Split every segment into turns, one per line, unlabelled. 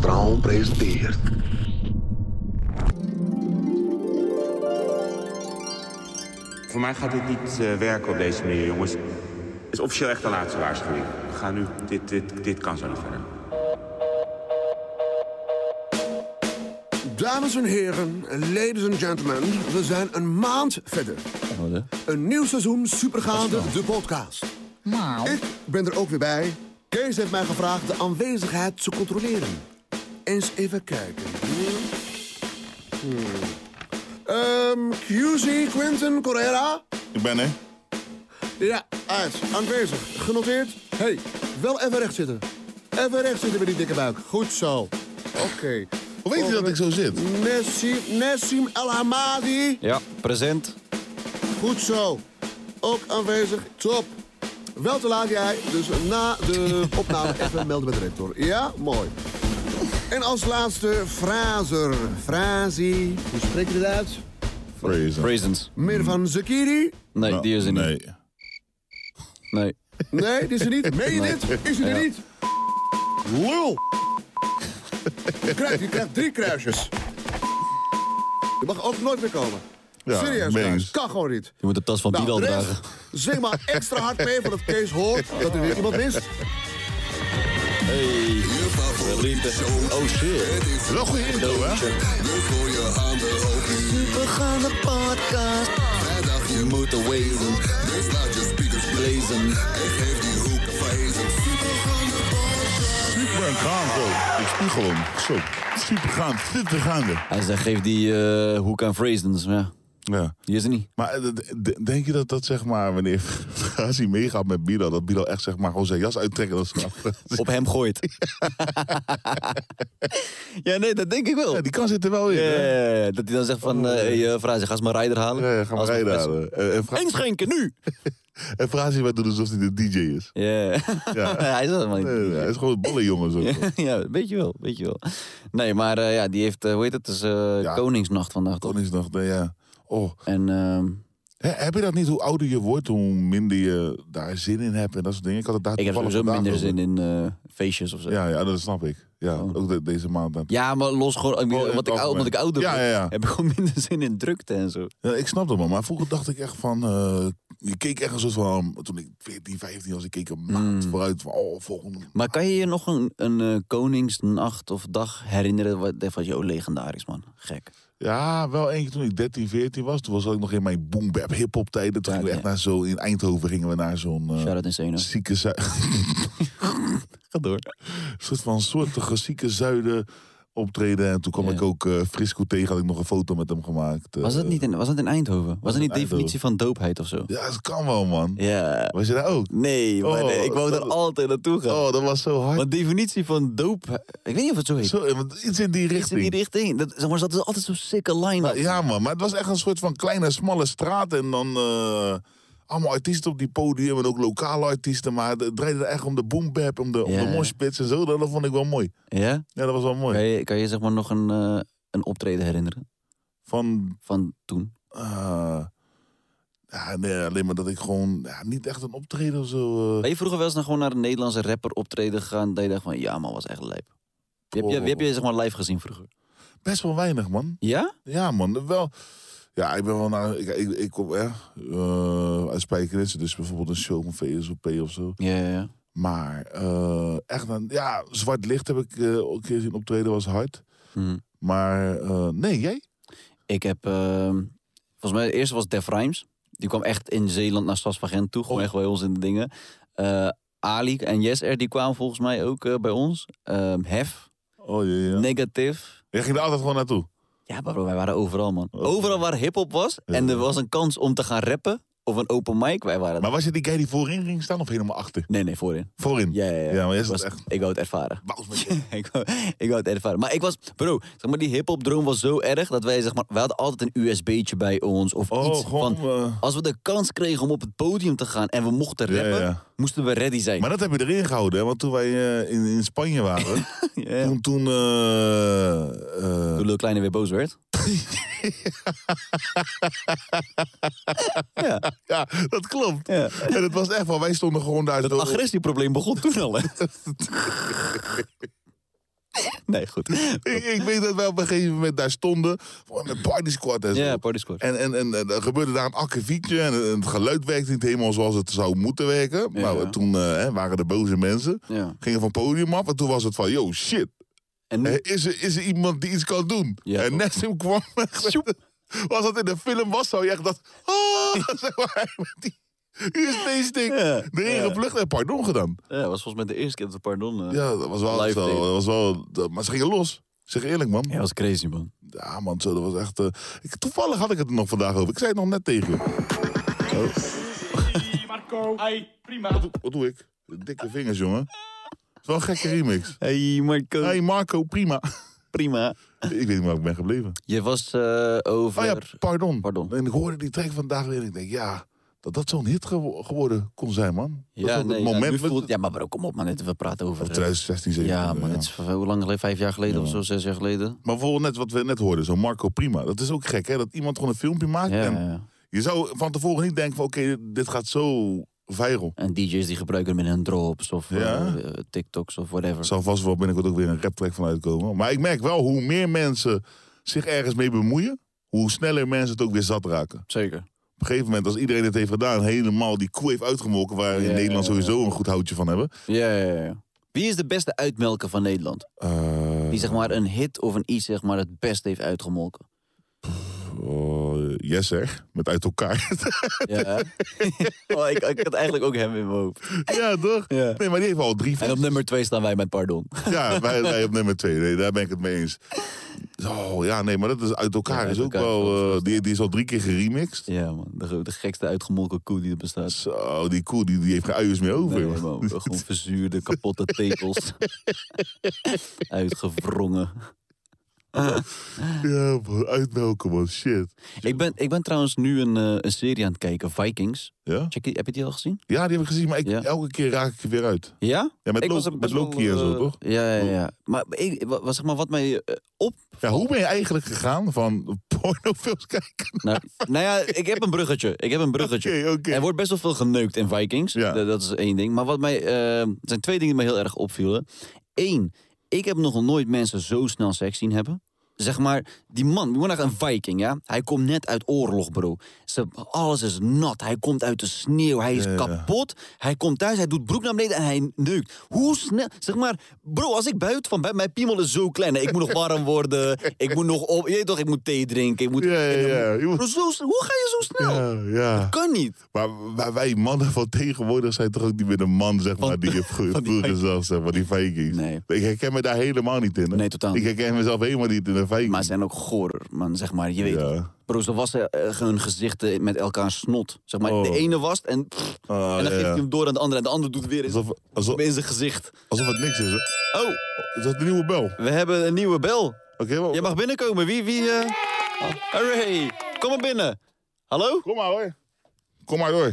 Straal presenteert.
Voor mij gaat dit niet eh, werken op deze manier, jongens. Het is officieel echt de laatste waarschuwing. We gaan nu... Dit, dit, dit kan zo niet verder.
Dames en heren, ladies and gentlemen, we zijn een maand verder. Een nieuw seizoen Supergaande, de podcast. Ik ben er ook weer bij. Kees heeft mij gevraagd de aanwezigheid te controleren. Eens even kijken. Hmm. Ehm, QC Quentin Correa?
Ik ben er.
Ja, uit. Aanwezig. Genoteerd. hey, wel even recht zitten. Even recht zitten met die dikke buik. Goed zo. Oké.
Hoe weet je dat ik zo zit?
Nessim, Nessim El Hamadi.
Ja, present.
Goed zo. Ook aanwezig. Top. Wel te laat jij, dus na de opname even melden met de rector. Ja, mooi. En als laatste Frazer. Frazi. Hoe spreek je dat uit?
Fraser.
Presents.
Mirvan Zakiri.
Nee, die is er niet.
Nou, Nee.
Nee.
Nee, dit is er niet. Meen je dit? Is hij er niet? Lul! Je krijgt, je krijgt drie kruisjes. Je mag ook nooit meer komen.
Ja,
Serieus,
mens.
kruis. kan gewoon niet.
Je moet de tas van
Nou,
Bilal
de rest,
dragen.
Zing maar extra hard mee voordat Kees hoort dat er weer iemand mist.
Oh shit.
Wel goed intro, hè? Dus Super gaande. Ik spiegel hem. Zo. Super gaande. Super gaande.
Hij zei, geef die eh hoek aan Presents. Maar ja,
Ja.
die is er niet.
Maar eh, d- d- denk je dat dat zeg maar, wanneer Frazi meegaat met Bilal, dat Bilal echt zeg maar gewoon zijn jas uittrekken? Dat is
Op hem gooit. ja, nee, dat denk ik wel.
ja, die kan zitten wel in.
Ja,
hè?
ja, ja, dat hij dan zegt van, eh hey, eh, Frazer, ga eens mijn rijder halen.
Ja, ja, gaan we
Als mijn
rijden
fles-
halen. En, en, Fra-
Inschenken, nu!
en Frazi wij doen alsof hij de DJ is.
Ja. hij is dat helemaal niet.
Nee, nee, hij is gewoon een ballenjongen. Zo.
Ja, ja, weet je wel, weet je wel. Nee, maar eh, ja, die heeft, eh, hoe heet het, het is eh,
Ja.
Koningsnacht vandaag toch?
Koningsdag, nee, ja. Oh,
En ehm,
Hè, heb je dat niet? Hoe ouder je wordt, hoe minder je daar zin in hebt en dat soort dingen. Ik had het daar
ik heb
toevallig
sowieso
vandaag
minder Oh.
over.
zin in eh, feestjes of zo.
Ja, ja, dat snap ik. Ja, ook de- deze maand. Dat.
Ja, maar los gewoon. Ik bedoel,
Oh, in
omdat,
het
ik, ou- omdat ik
algemeen.
ouder
Ja,
ben,
ja, ja.
heb ik gewoon minder zin in drukte en zo.
Ja, ik snap dat wel, maar vroeger dacht ik echt van... eh, je keek echt een soort van... um, toen ik 14, 15 was, ik keek een maand
Hmm.
vooruit van... Oh, volgende...
Maar kan je je nog een, een eh, koningsnacht of dag herinneren? Wat van, joh, legendarisch man. Gek.
Ja, wel eentje toen ik 13, 14 was. Toen was ik nog in mijn boom bap hip hop tijden. Toen
Ja,
gingen we echt
ja.
naar zo... In Eindhoven gingen we naar zo'n... eh,
Shout out Insane. hoor.
zieke zuiden. Ga door. Een soort van soortige zieke zuiden optreden. En toen kwam
Ja.
ik ook eh, Frisco tegen, had ik nog een foto met hem gemaakt.
Was dat
Eh,
niet in, was dat in Eindhoven? Was dat niet
in Eindhoven.
definitie van doopheid of zo?
Ja, dat kan wel, man.
Ja.
Was je daar ook?
Nee, maar
Oh,
nee, ik wou daar
dat-
altijd naartoe gaan.
Oh, dat was zo hard.
Want definitie van doop. Ik weet niet of het zo heet.
Zo, eh, want iets in die
Iets in
richting.
die richting. Dat, zeg maar, ze hadden altijd zo'n sikke line-up.
Ah, Ja, man, maar het was echt een soort van kleine, smalle straat. En dan eh, allemaal artiesten op die podium en ook lokale artiesten. Maar het draaide echt om de boom bap, om de, om
Ja.
de moshpits en zo. Dat, dat vond ik wel mooi.
Ja?
Ja, dat was wel mooi.
Kan je, kan je zeg maar nog een, eh, een optreden herinneren
Van
van toen?
Eh, ja, nee, alleen maar dat ik gewoon ja, niet echt een optreden of zo. eh.
Ben je vroeger wel eens naar, gewoon naar een Nederlandse rapper optreden gegaan... dat je dacht van, ja man, was echt lijp. Wie heb je, wie heb je zeg maar live gezien vroeger?
Best wel weinig, man.
Ja?
Ja, man. Wel, ja, ik ben wel naar. Ik, ik, ik kom eh, eh, uit Spijkenissen, dus bijvoorbeeld een show van VSOP of zo.
Ja, ja, ja.
Maar eh, echt, een, ja, Zwart Licht heb ik eh, ook een keer zien optreden, was hard.
Hm.
Maar eh, nee, jij?
Ik heb... ehm, volgens mij de eerste was Def Rhymes. Die kwam echt in Zeeland naar Stadsvagent toe. Gewoon
Oh.
echt bij ons in de dingen. Eh, Ali en Yes R, die kwamen volgens mij ook eh, bij ons. Ehm, Hef,
Oh ja, ja.
Negative.
Jij ging er altijd gewoon naartoe. Oh.
Ja, bro, wij waren overal, man. Overal waar hip-hop was en er was een kans om te gaan rappen... Of een open mic. Wij waren
Maar was je die guy die voorin ging staan of helemaal achter?
Nee, nee, voorin.
Voorin?
Ja, ja, ja.
maar is
Ik
dat
was-
echt...
Ik wou het ervaren.
Wauw, met je.
ik, wou, ik wou het ervaren. Maar ik was, bro, zeg maar, die hip-hop droom was zo erg dat wij, zeg maar, wij hadden altijd een USB'tje bij ons. Of
Oh,
iets
gewoon,
van.
eh.
Als we de kans kregen om op het podium te gaan en we mochten
Ja,
rappen,
ja.
moesten we ready zijn.
Maar dat heb je erin gehouden, hè? want toen wij eh, in, in Spanje waren,
Ja.
toen, toen eh, eh,
Toen Lil Kleine weer boos werd.
ja, dat klopt.
Ja.
En het was echt wel, wij stonden gewoon daar zo...
Het agressieprobleem begon toen al, hè? nee, goed.
Ik, ik weet dat wij op een gegeven moment daar stonden, gewoon met party squad en zo.
Ja, party squad.
En, en, en, eh, er gebeurde daar een akkefietje en eh, het geluid werkte niet helemaal zoals het zou moeten werken. Maar we- toen eh, hè, waren er boze mensen,
Ja.
gingen van het podium af en toen was het van, yo shit,
En
hè,
nu,
is er, is er iemand die iets kan doen?
Ja,
en
toch.
Nessim kwam echt met- Als dat in de film was, zou je echt dat, ah, zeg maar, met die USB-stick
Ja,
erin
ja.
geplukt en pardon gedaan.
ja, was volgens mij de eerste keer dat we pardon. eh,
Ja, dat was wel,
Live
zo,
tape.
dat was wel dat- maar ze gingen los. Zeg eerlijk, man.
Ja, was crazy, man.
Ja, man, zo, dat was echt... eh, ik, toevallig had ik het er nog vandaag over. Ik zei het nog net tegen je.
Marco. Hey, prima.
Wat doe, wat doe ik? Dikke vingers, jongen. Het is wel een gekke remix.
Hey, Marco.
Hey Marco, prima.
Prima.
ik weet niet waar ik ben gebleven.
Je was eh, over...
Oh ja, pardon.
Pardon.
En ik hoorde die track vandaag weer en ik denk, ja, dat dat zo'n hit gewo- geworden kon zijn, man. Dat is ook
nee,
het
ja,
moment...
nu
met-
voelt- ja, maar bro, kom op, man. Net, we praten over... eh,
2016, 17.
ja, man. Het is van- hoe lang geleden? Vijf jaar geleden of zo? Zes jaar geleden?
Maar bijvoorbeeld net wat we net hoorden, zo'n Marco Prima. Dat is ook gek, hè? Dat iemand gewoon een filmpje maakt.
Ja,
en
ja, ja.
Je zou van tevoren niet denken van, oké, dit gaat zo viral.
En DJ's die gebruiken hem in hun drops of eh,
Ja?
eh, TikToks of whatever.
Er zal vast wel binnenkort ook weer een raptrack van uitkomen. Maar ik merk wel, hoe meer mensen zich ergens mee bemoeien... hoe sneller mensen het ook weer zat raken.
Zeker.
Op een gegeven moment, als iedereen het heeft gedaan... helemaal die koe heeft uitgemolken... waar we in
Ja,
Nederland sowieso een goed houtje van hebben.
Ja, ja, ja, ja. Wie is de beste uitmelker van Nederland?
Eh,
Die zeg maar een hit of een iets zeg maar het best heeft uitgemolken.
oh, yes, zeg. Met uit elkaar.
Ja, hè? oh, ik, ik had eigenlijk ook hem in mijn hoofd.
ja, toch?
Ja.
Nee, maar die heeft al drie
En op nummer twee staan wij met Pardon.
Ja, wij, wij op nummer twee. Nee, daar ben ik het mee eens. Oh, ja, nee, maar dat is uit elkaar.
Ja, uit
is ook
elkaar.
wel, eh, die, die is al drie keer geremixed.
Ja, man. De, de gekste uitgemolken koe die er bestaat.
Zo, die koe, die, die heeft geen uiers meer over.
Nee,
man.
man, gewoon verzuurde, kapotte tekels. Uitgevrongen.
Ja, man, uitmelken, man. Shit.
Ik ben, ik ben trouwens nu een, eh, een serie aan het kijken, Vikings.
Ja?
Check die, heb je die al gezien?
ja, die heb ik gezien, maar ik,
Ja.
elke keer raak ik er weer uit.
Ja?
Ja, met,
Ik
Lo-
was er
met
best wel,
Loki en zo,
eh,
toch?
Ja, ja, ja. Maar, ik, wa- wa- zeg maar wat mij eh, op...
Ja, hoe ben je eigenlijk gegaan van pornofilms kijken?
Nou, nou ja, ik heb een bruggetje. Ik heb een bruggetje.
Oké, oké.
Er wordt best wel veel geneukt in Vikings.
Ja.
Dat, dat is één ding. Maar wat mij, eh, er zijn twee dingen die me heel erg opvielen. Eén, ik heb nog nooit mensen zo snel seks zien hebben. Zeg maar, die man, die wordt echt een viking, ja? Hij komt net uit oorlog, bro. Ze, alles is nat. Hij komt uit de sneeuw. Hij is kapot. Hij komt thuis, hij doet broek naar beneden en hij neukt. Hoe snel... Zeg maar, bro, als ik buiten van... bij- Mijn piemel is zo klein. hè. Ik moet nog warm worden. Ik moet nog op... Je weet toch, ik moet thee drinken. Ik moet...
Ja, ja, ja. Je
Bro,
moet-
zo, snel- hoe ga je zo snel?
Ja, ja.
Kan niet.
Maar, maar wij mannen van tegenwoordig zijn toch ook niet meer een man, zeg maar, die je vro-
van die
vroeger zag, zeg maar, die Vikings.
Nee.
Ik herken me daar helemaal niet in. hè.
Nee, totaal
Ik
niet.
herken mezelf helemaal niet in een Viking.
Maar ze zijn ook gorer, man, zeg maar. Je weet
Ja.
het. Bro, ze wassen eh, hun gezichten met elkaar snot. Zeg maar,
Oh.
de ene wast en, pff,
Ah,
en dan
ja,
geeft
ja.
hij hem door aan de andere. En de ander doet weer eens
Alsof, alsof,
in zijn gezicht.
alsof het niks is. hè.
Oh,
Is dat de nieuwe bel? Oké,
we hebben een nieuwe bel.
wel-
Jij mag binnenkomen. Wie, wie? eh? Oh, Hooray. Kom maar binnen. Hallo?
Kom maar hoor. Kom maar door.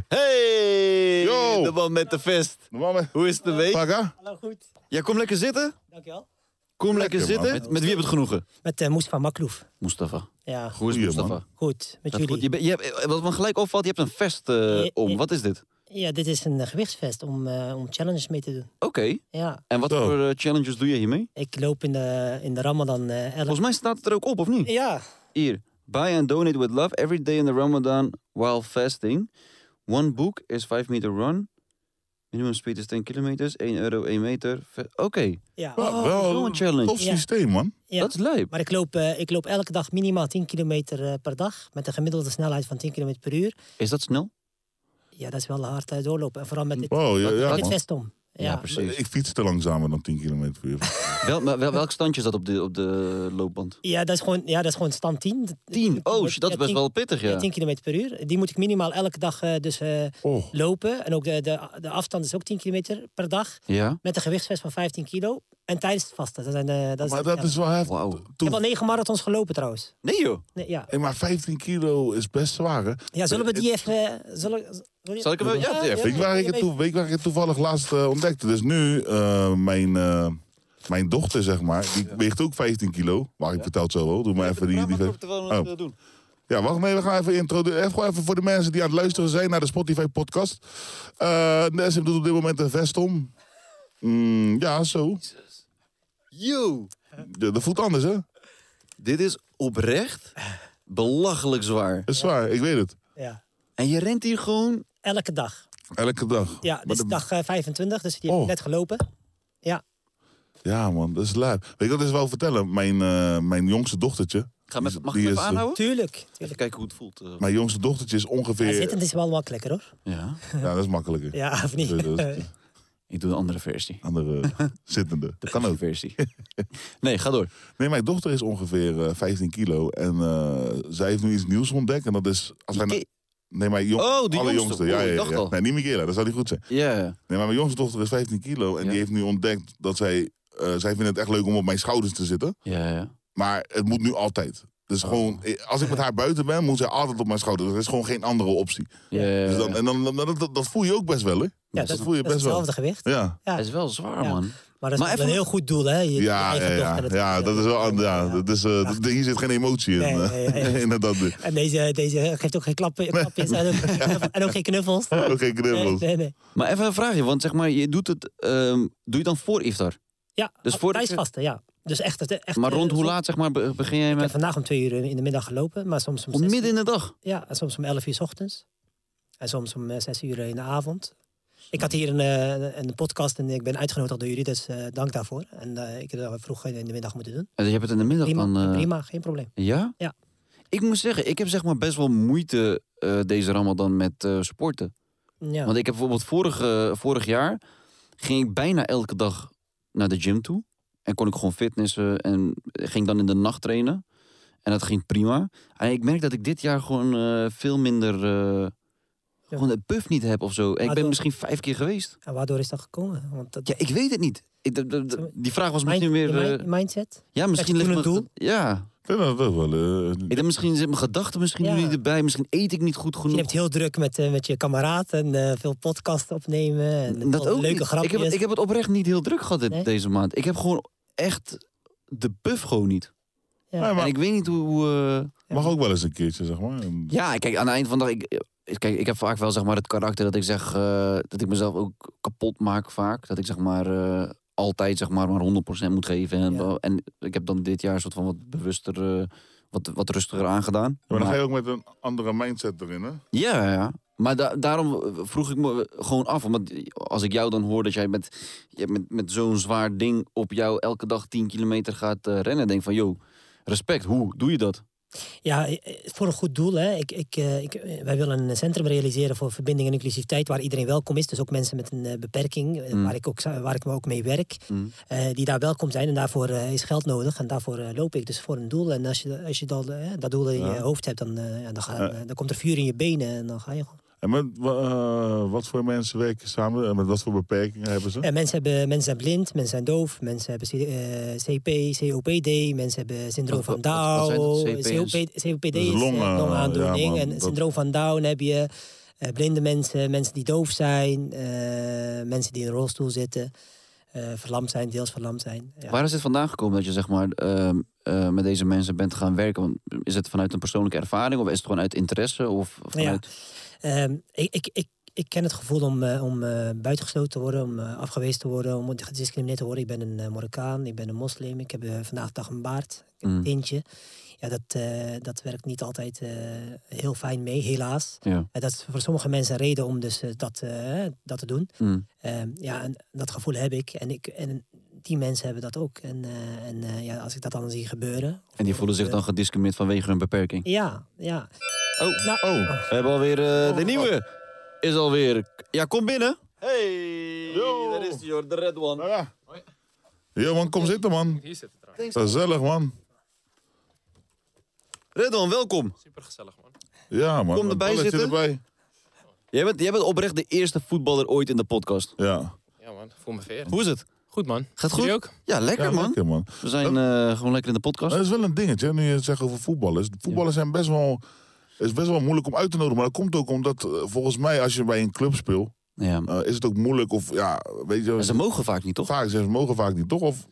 Hey,
Yo.
de man met de vest.
De man met...
Hoe Oh, is de week?
Paga?
Hallo, Nou, goed.
Ja, kom lekker zitten.
Dankjewel.
Kom lekker
Lekker, man.
zitten. Met, met wie heb je het genoegen?
Met eh, Moes van Maklouf.
Mustafa.
Ja,
Hoe is
Goeie,
Mustafa?
man.
goed. Met
Gaat
jullie.
goed? Je bent- je hebt- eh, wat me gelijk opvalt, je hebt een vest eh,
Eh,
om.
eh.
Wat is dit?
Ja, dit is een eh, gewichtsvest om, eh, om challenges mee te doen.
Oké.
Ja,
En wat
Zo.
voor eh, challenges doe je hiermee?
ik loop in de, in de Ramadan eh elk-
Volgens mij staat het er ook op, of niet?
Ja,
Hier. Buy and donate with love every day in the Ramadan while fasting. One book is 5 meter run. Minimum speed is 10 kilometers. 1 euro, 1 meter. Ve- Oké.
ja.
Ja,
zo'n
wel
challenge.
tof
Ja.
systeem, man.
ja.
Dat is leuk.
Maar ik loop, eh, ik loop elke dag minimaal 10 kilometer eh, per dag. Met een gemiddelde snelheid van 10 kilometer per uur.
Is dat snel?
Ja, dat is wel hard eh, doorlopen. En vooral met dit,
Wow, ja, ja,
dit
man.
vest om.
Mm. Ja, precies.
Ik fiets te langzamer dan 10 km per uur. Oh,
Wel, maar wel, welk standje is dat op de, op de loopband?
Ja, dat is gewoon, ja, dat is gewoon stand 10.
10? Oh, shit, dat is
Ja,
best
10
wel pittig, ja.
10 km per uur. Die moet ik minimaal elke dag eh, dus eh,
Oh.
lopen. En ook de, de, de afstand is ook 10 km per dag.
Ja?
Met een gewichtsvest van 15 kilo. En tijdens het vasten. Dat zijn, eh, dat is,
Maar dat
ja.
is wel heftig.
Wauw.
Ik
Toen-
heb al 9 marathons gelopen trouwens.
Nee, joh.
Nee, ja.
Hey, maar 15 kilo is best zwaar, hè?
ja, zullen we die even... eh, zullen, wil je-
Zal ik hem even- ja, even.
Weet je waar ik het, toe- weet je waar ik het toevallig laatst eh, ontdekte? Dus nu, eh, mijn, eh, mijn dochter, zeg maar, die weegt ook 15 kilo. Maar ik vertel het zo wel. Doe maar even die... die
eh,
Oh. Ja, wacht, nee, we gaan even introduceren. Even, gewoon even voor de mensen die aan het luisteren zijn naar de Spotify-podcast. Eh Nessim doet op dit moment een vest om. Mm, ja, zo.
Yo,
Ja, dat voelt anders, hè?
dit is oprecht belachelijk zwaar.
Dat is zwaar, ik weet het.
Ja.
En je rent hier gewoon...
Elke dag.
Elke dag.
Ja, dit
Maar
is
de-
dag eh, 25, dus die heb
Oh.
ik net gelopen. Ja.
Ja, man, dat is lui. Weet je wat ik wel vertellen? Mijn, eh, mijn jongste dochtertje.
Ga met,
die
nou
is-
mag ik
die
hem
is,
even
eh,
aanhouden?
Tuurlijk. tuurlijk.
Even kijken hoe het voelt. eh.
Mijn jongste dochtertje is
Ja,
ongeveer.
zittend is wel makkelijker hoor.
Ja,
Ja, dat is makkelijker.
Ja, of niet?
Dus dat is een
ik doe een andere versie.
andere zittende. Dat kan ook.
versie. Nee, ga door.
Nee, mijn dochter is ongeveer eh, 15 kilo. En eh, zij heeft nu iets nieuws ontdekt. En dat is. Als wij na-
Ki-
Nee, mijn jong...
Oh, die
alle
jongste.
Ja,
Oh,
ja,
ik
ja,
dacht
ja.
al.
Nee, niet Michaela, dat zou niet goed zijn.
Ja.
Nee, maar mijn jongste dochter is 15 kilo. En
Ja.
die heeft nu ontdekt dat zij. eh, zij vindt het echt leuk om op mijn schouders te zitten.
Ja, ja.
Maar het moet nu altijd. Dus
Oh.
gewoon, eh, als ik met haar buiten ben, moet zij altijd op mijn schouder. Er is gewoon geen andere optie.
Ja, ja, ja.
Dus dan, en dan, dan- dat, dat- dat voel je ook best wel, hè?
Ja,
dat, voel je
dat is
best wel.
hetzelfde gewicht.
Ja,
Ja.
Hij is wel zwaar,
Ja.
man.
Maar dat is
Maar
wel
even-
een heel goed doel, hè? Je- je
ja, ja,
eigen
ja,
dochter,
ja, dat is wel an- ja,
ja.
dat is, eh, d- Hier zit geen emotie in.
Nee, nee, nee, nee.
Inderdaad. niet.
En deze, deze geeft ook geen klappen, klapjes en, ook, en ook geen knuffels.
Ook geen
Nee,
knuffels.
nee, nee.
Maar even een vraagje, want zeg maar, je doet het... ehm, doe je dan voor iftar?
Ja,
Dus
dus
voor-
voor vasten, ja. Dus echt, echt
Maar rond hoe
eh,
laat zeg maar, be- begin jij
Ik heb
met...
vandaag om twee uur in de middag gelopen, maar soms om,
Om
zes
midden in de dag?
uur- ja, en soms om elf uur 's ochtends. En soms om eh, zes uur in de avond. Ik had hier een, eh, een podcast en ik ben uitgenodigd door jullie, dus eh, dank daarvoor. En eh, ik heb dat vroeg in de middag moeten doen.
En je hebt het in de middag
Prima,
dan... eh,
prima geen probleem.
Ja?
Ja.
Ik moet zeggen, ik heb zeg maar best wel moeite eh, deze ramadan met eh, sporten.
Ja.
Want ik heb bijvoorbeeld vorig, eh, vorig jaar ging ik bijna elke dag naar de gym toe. En kon ik gewoon fitnessen en ging dan in de nacht trainen. En dat ging prima. En ik merk dat ik dit jaar gewoon eh, veel minder... eh,
Ja.
Gewoon het buff niet heb of zo. En ik
Maar
ben
dat-
misschien vijf keer geweest.
En waardoor is dat gekomen? Want dat,
Ja, ik weet het niet. Ik, d- d- d- die vraag was
Mind-
misschien weer...
je
eh,
mind- mindset?
ja, misschien
Echt
ligt
toen
mijn-
een
Ja,
Ja, dat is wel. eh,
ik denk, misschien zit mijn gedachten misschien
Ja.
nu niet erbij. Misschien eet ik niet goed
Je
genoeg.
hebt heel druk met, eh, met je kameraad en eh, veel podcasts opnemen. En
dat
veel
ook
leuke
niet.
grapjes.
Ik heb, ik heb het oprecht niet heel druk gehad dit-
Nee?
deze maand. Ik heb gewoon echt de buff gewoon niet.
Ja.
maar-
En ik weet niet hoe... eh,
mag ook wel eens een keertje, zeg maar. En-
Ja, kijk, aan het eind van de dag... Ik, ik- kijk, ik heb vaak wel zeg maar, het karakter dat ik zeg... eh, dat ik mezelf ook kapot maak vaak. Dat ik zeg maar... eh, altijd zeg maar, maar 100% moet geven. En,
Ja.
en ik heb dan dit jaar een soort van wat bewuster... eh, wat, wat rustiger aangedaan.
maar dan
Maar-
ga je ook met een andere mindset erin, hè?
Ja, ja, ja. Maar da- daarom eh, vroeg ik me gewoon af. Want als ik jou dan hoor dat jij met, je hebt met, met zo'n zwaar ding op jou elke dag 10 kilometer gaat eh, rennen. Denk van, yo, respect, hoe doe je dat?
Ja, eh, voor een goed doel. Hè. Ik, ik, eh, ik, eh, wij willen een centrum realiseren voor verbinding en inclusiviteit, waar iedereen welkom is. Dus ook mensen met een eh, beperking, eh,
Mm.
waar, ik ook, za- waar ik me ook mee werk,
Mm.
eh, die daar welkom zijn. En daarvoor eh, is geld nodig en daarvoor eh, loop ik dus voor een doel. En als je, als je dan, eh, dat doel in je hoofd hebt, dan, eh, ja, dan, ga-
Ja.
eh, dan komt er vuur in je benen en dan ga je gewoon.
En met wa- eh, wat voor mensen werk je samen? En met wat voor beperkingen hebben ze?
Eh, mensen, hebben, mensen zijn blind, mensen zijn doof, mensen hebben C- eh, CP, COPD, mensen hebben syndroom
Wat-
van
wat- wat zijn dat?
Down.
CP is-
COPD, COPD
Dat
is
is
eh,
longen, ja,
longaandoening.
maar
en
dat-
syndroom van Down heb je eh, blinde mensen, mensen die doof zijn, eh, mensen die in een rolstoel zitten, eh, verlamd zijn, deels verlamd zijn. Ja.
Waar is het vandaan gekomen dat je zeg maar, ehm, eh, met deze mensen bent gaan werken? Want is het vanuit een persoonlijke ervaring of is het gewoon uit interesse? Of vanuit...
Ehm, ik, ik, ik, ik ken het gevoel om, eh, om eh, buitengesloten te worden, om eh, afgewezen te worden, om gediscrimineerd te worden. Ik ben een eh, Marokkaan, ik ben een moslim, ik heb eh, vandaag de dag een baard, ik heb
Mm.
een tintje. Ja, dat, eh, dat werkt niet altijd eh, heel fijn mee, helaas.
Ja.
Eh, dat is voor sommige mensen een reden om dus eh, dat, eh, dat te doen.
Mm.
Ehm, ja, en dat gevoel heb ik. En, ik, en die mensen hebben dat ook. En, eh, en eh, ja, als ik dat dan zie gebeuren...
En die voelen zich dan gediscrimineerd vanwege hun beperking.
Ja, ja.
Oh,
Nou,
Oh,
We hebben alweer eh, de nieuwe. Is alweer. Ja, kom binnen. Hey, daar is die hoor, de red one.
Nou ja. Yo man, kom zitten man.
Hier zitten trouwens.
Gezellig man.
Red one, welkom.
Super gezellig, man.
Ja man.
Kom
een
erbij
balletje
zitten.
erbij.
Jij bent, jij bent oprecht de eerste voetballer ooit in de podcast.
Ja.
Ja, man. Voel me vereerd.
Hoe is het?
Goed, man.
Gaat goed?
Jullie ook?
Ja, lekker
Ja,
man.
lekker man.
We zijn eh, gewoon lekker in de podcast.
Maar Dat is wel een dingetje, nu je het zegt over voetballers. Voetballers zijn best wel, is best wel moeilijk om uit te nodigen. Maar dat komt ook omdat, eh, volgens mij, als je bij een club speelt,
Ja.
eh, is het ook moeilijk. Of ja, weet je,
Maar Ze mogen vaak niet, toch?
vaak, ze mogen vaak niet, toch? Of,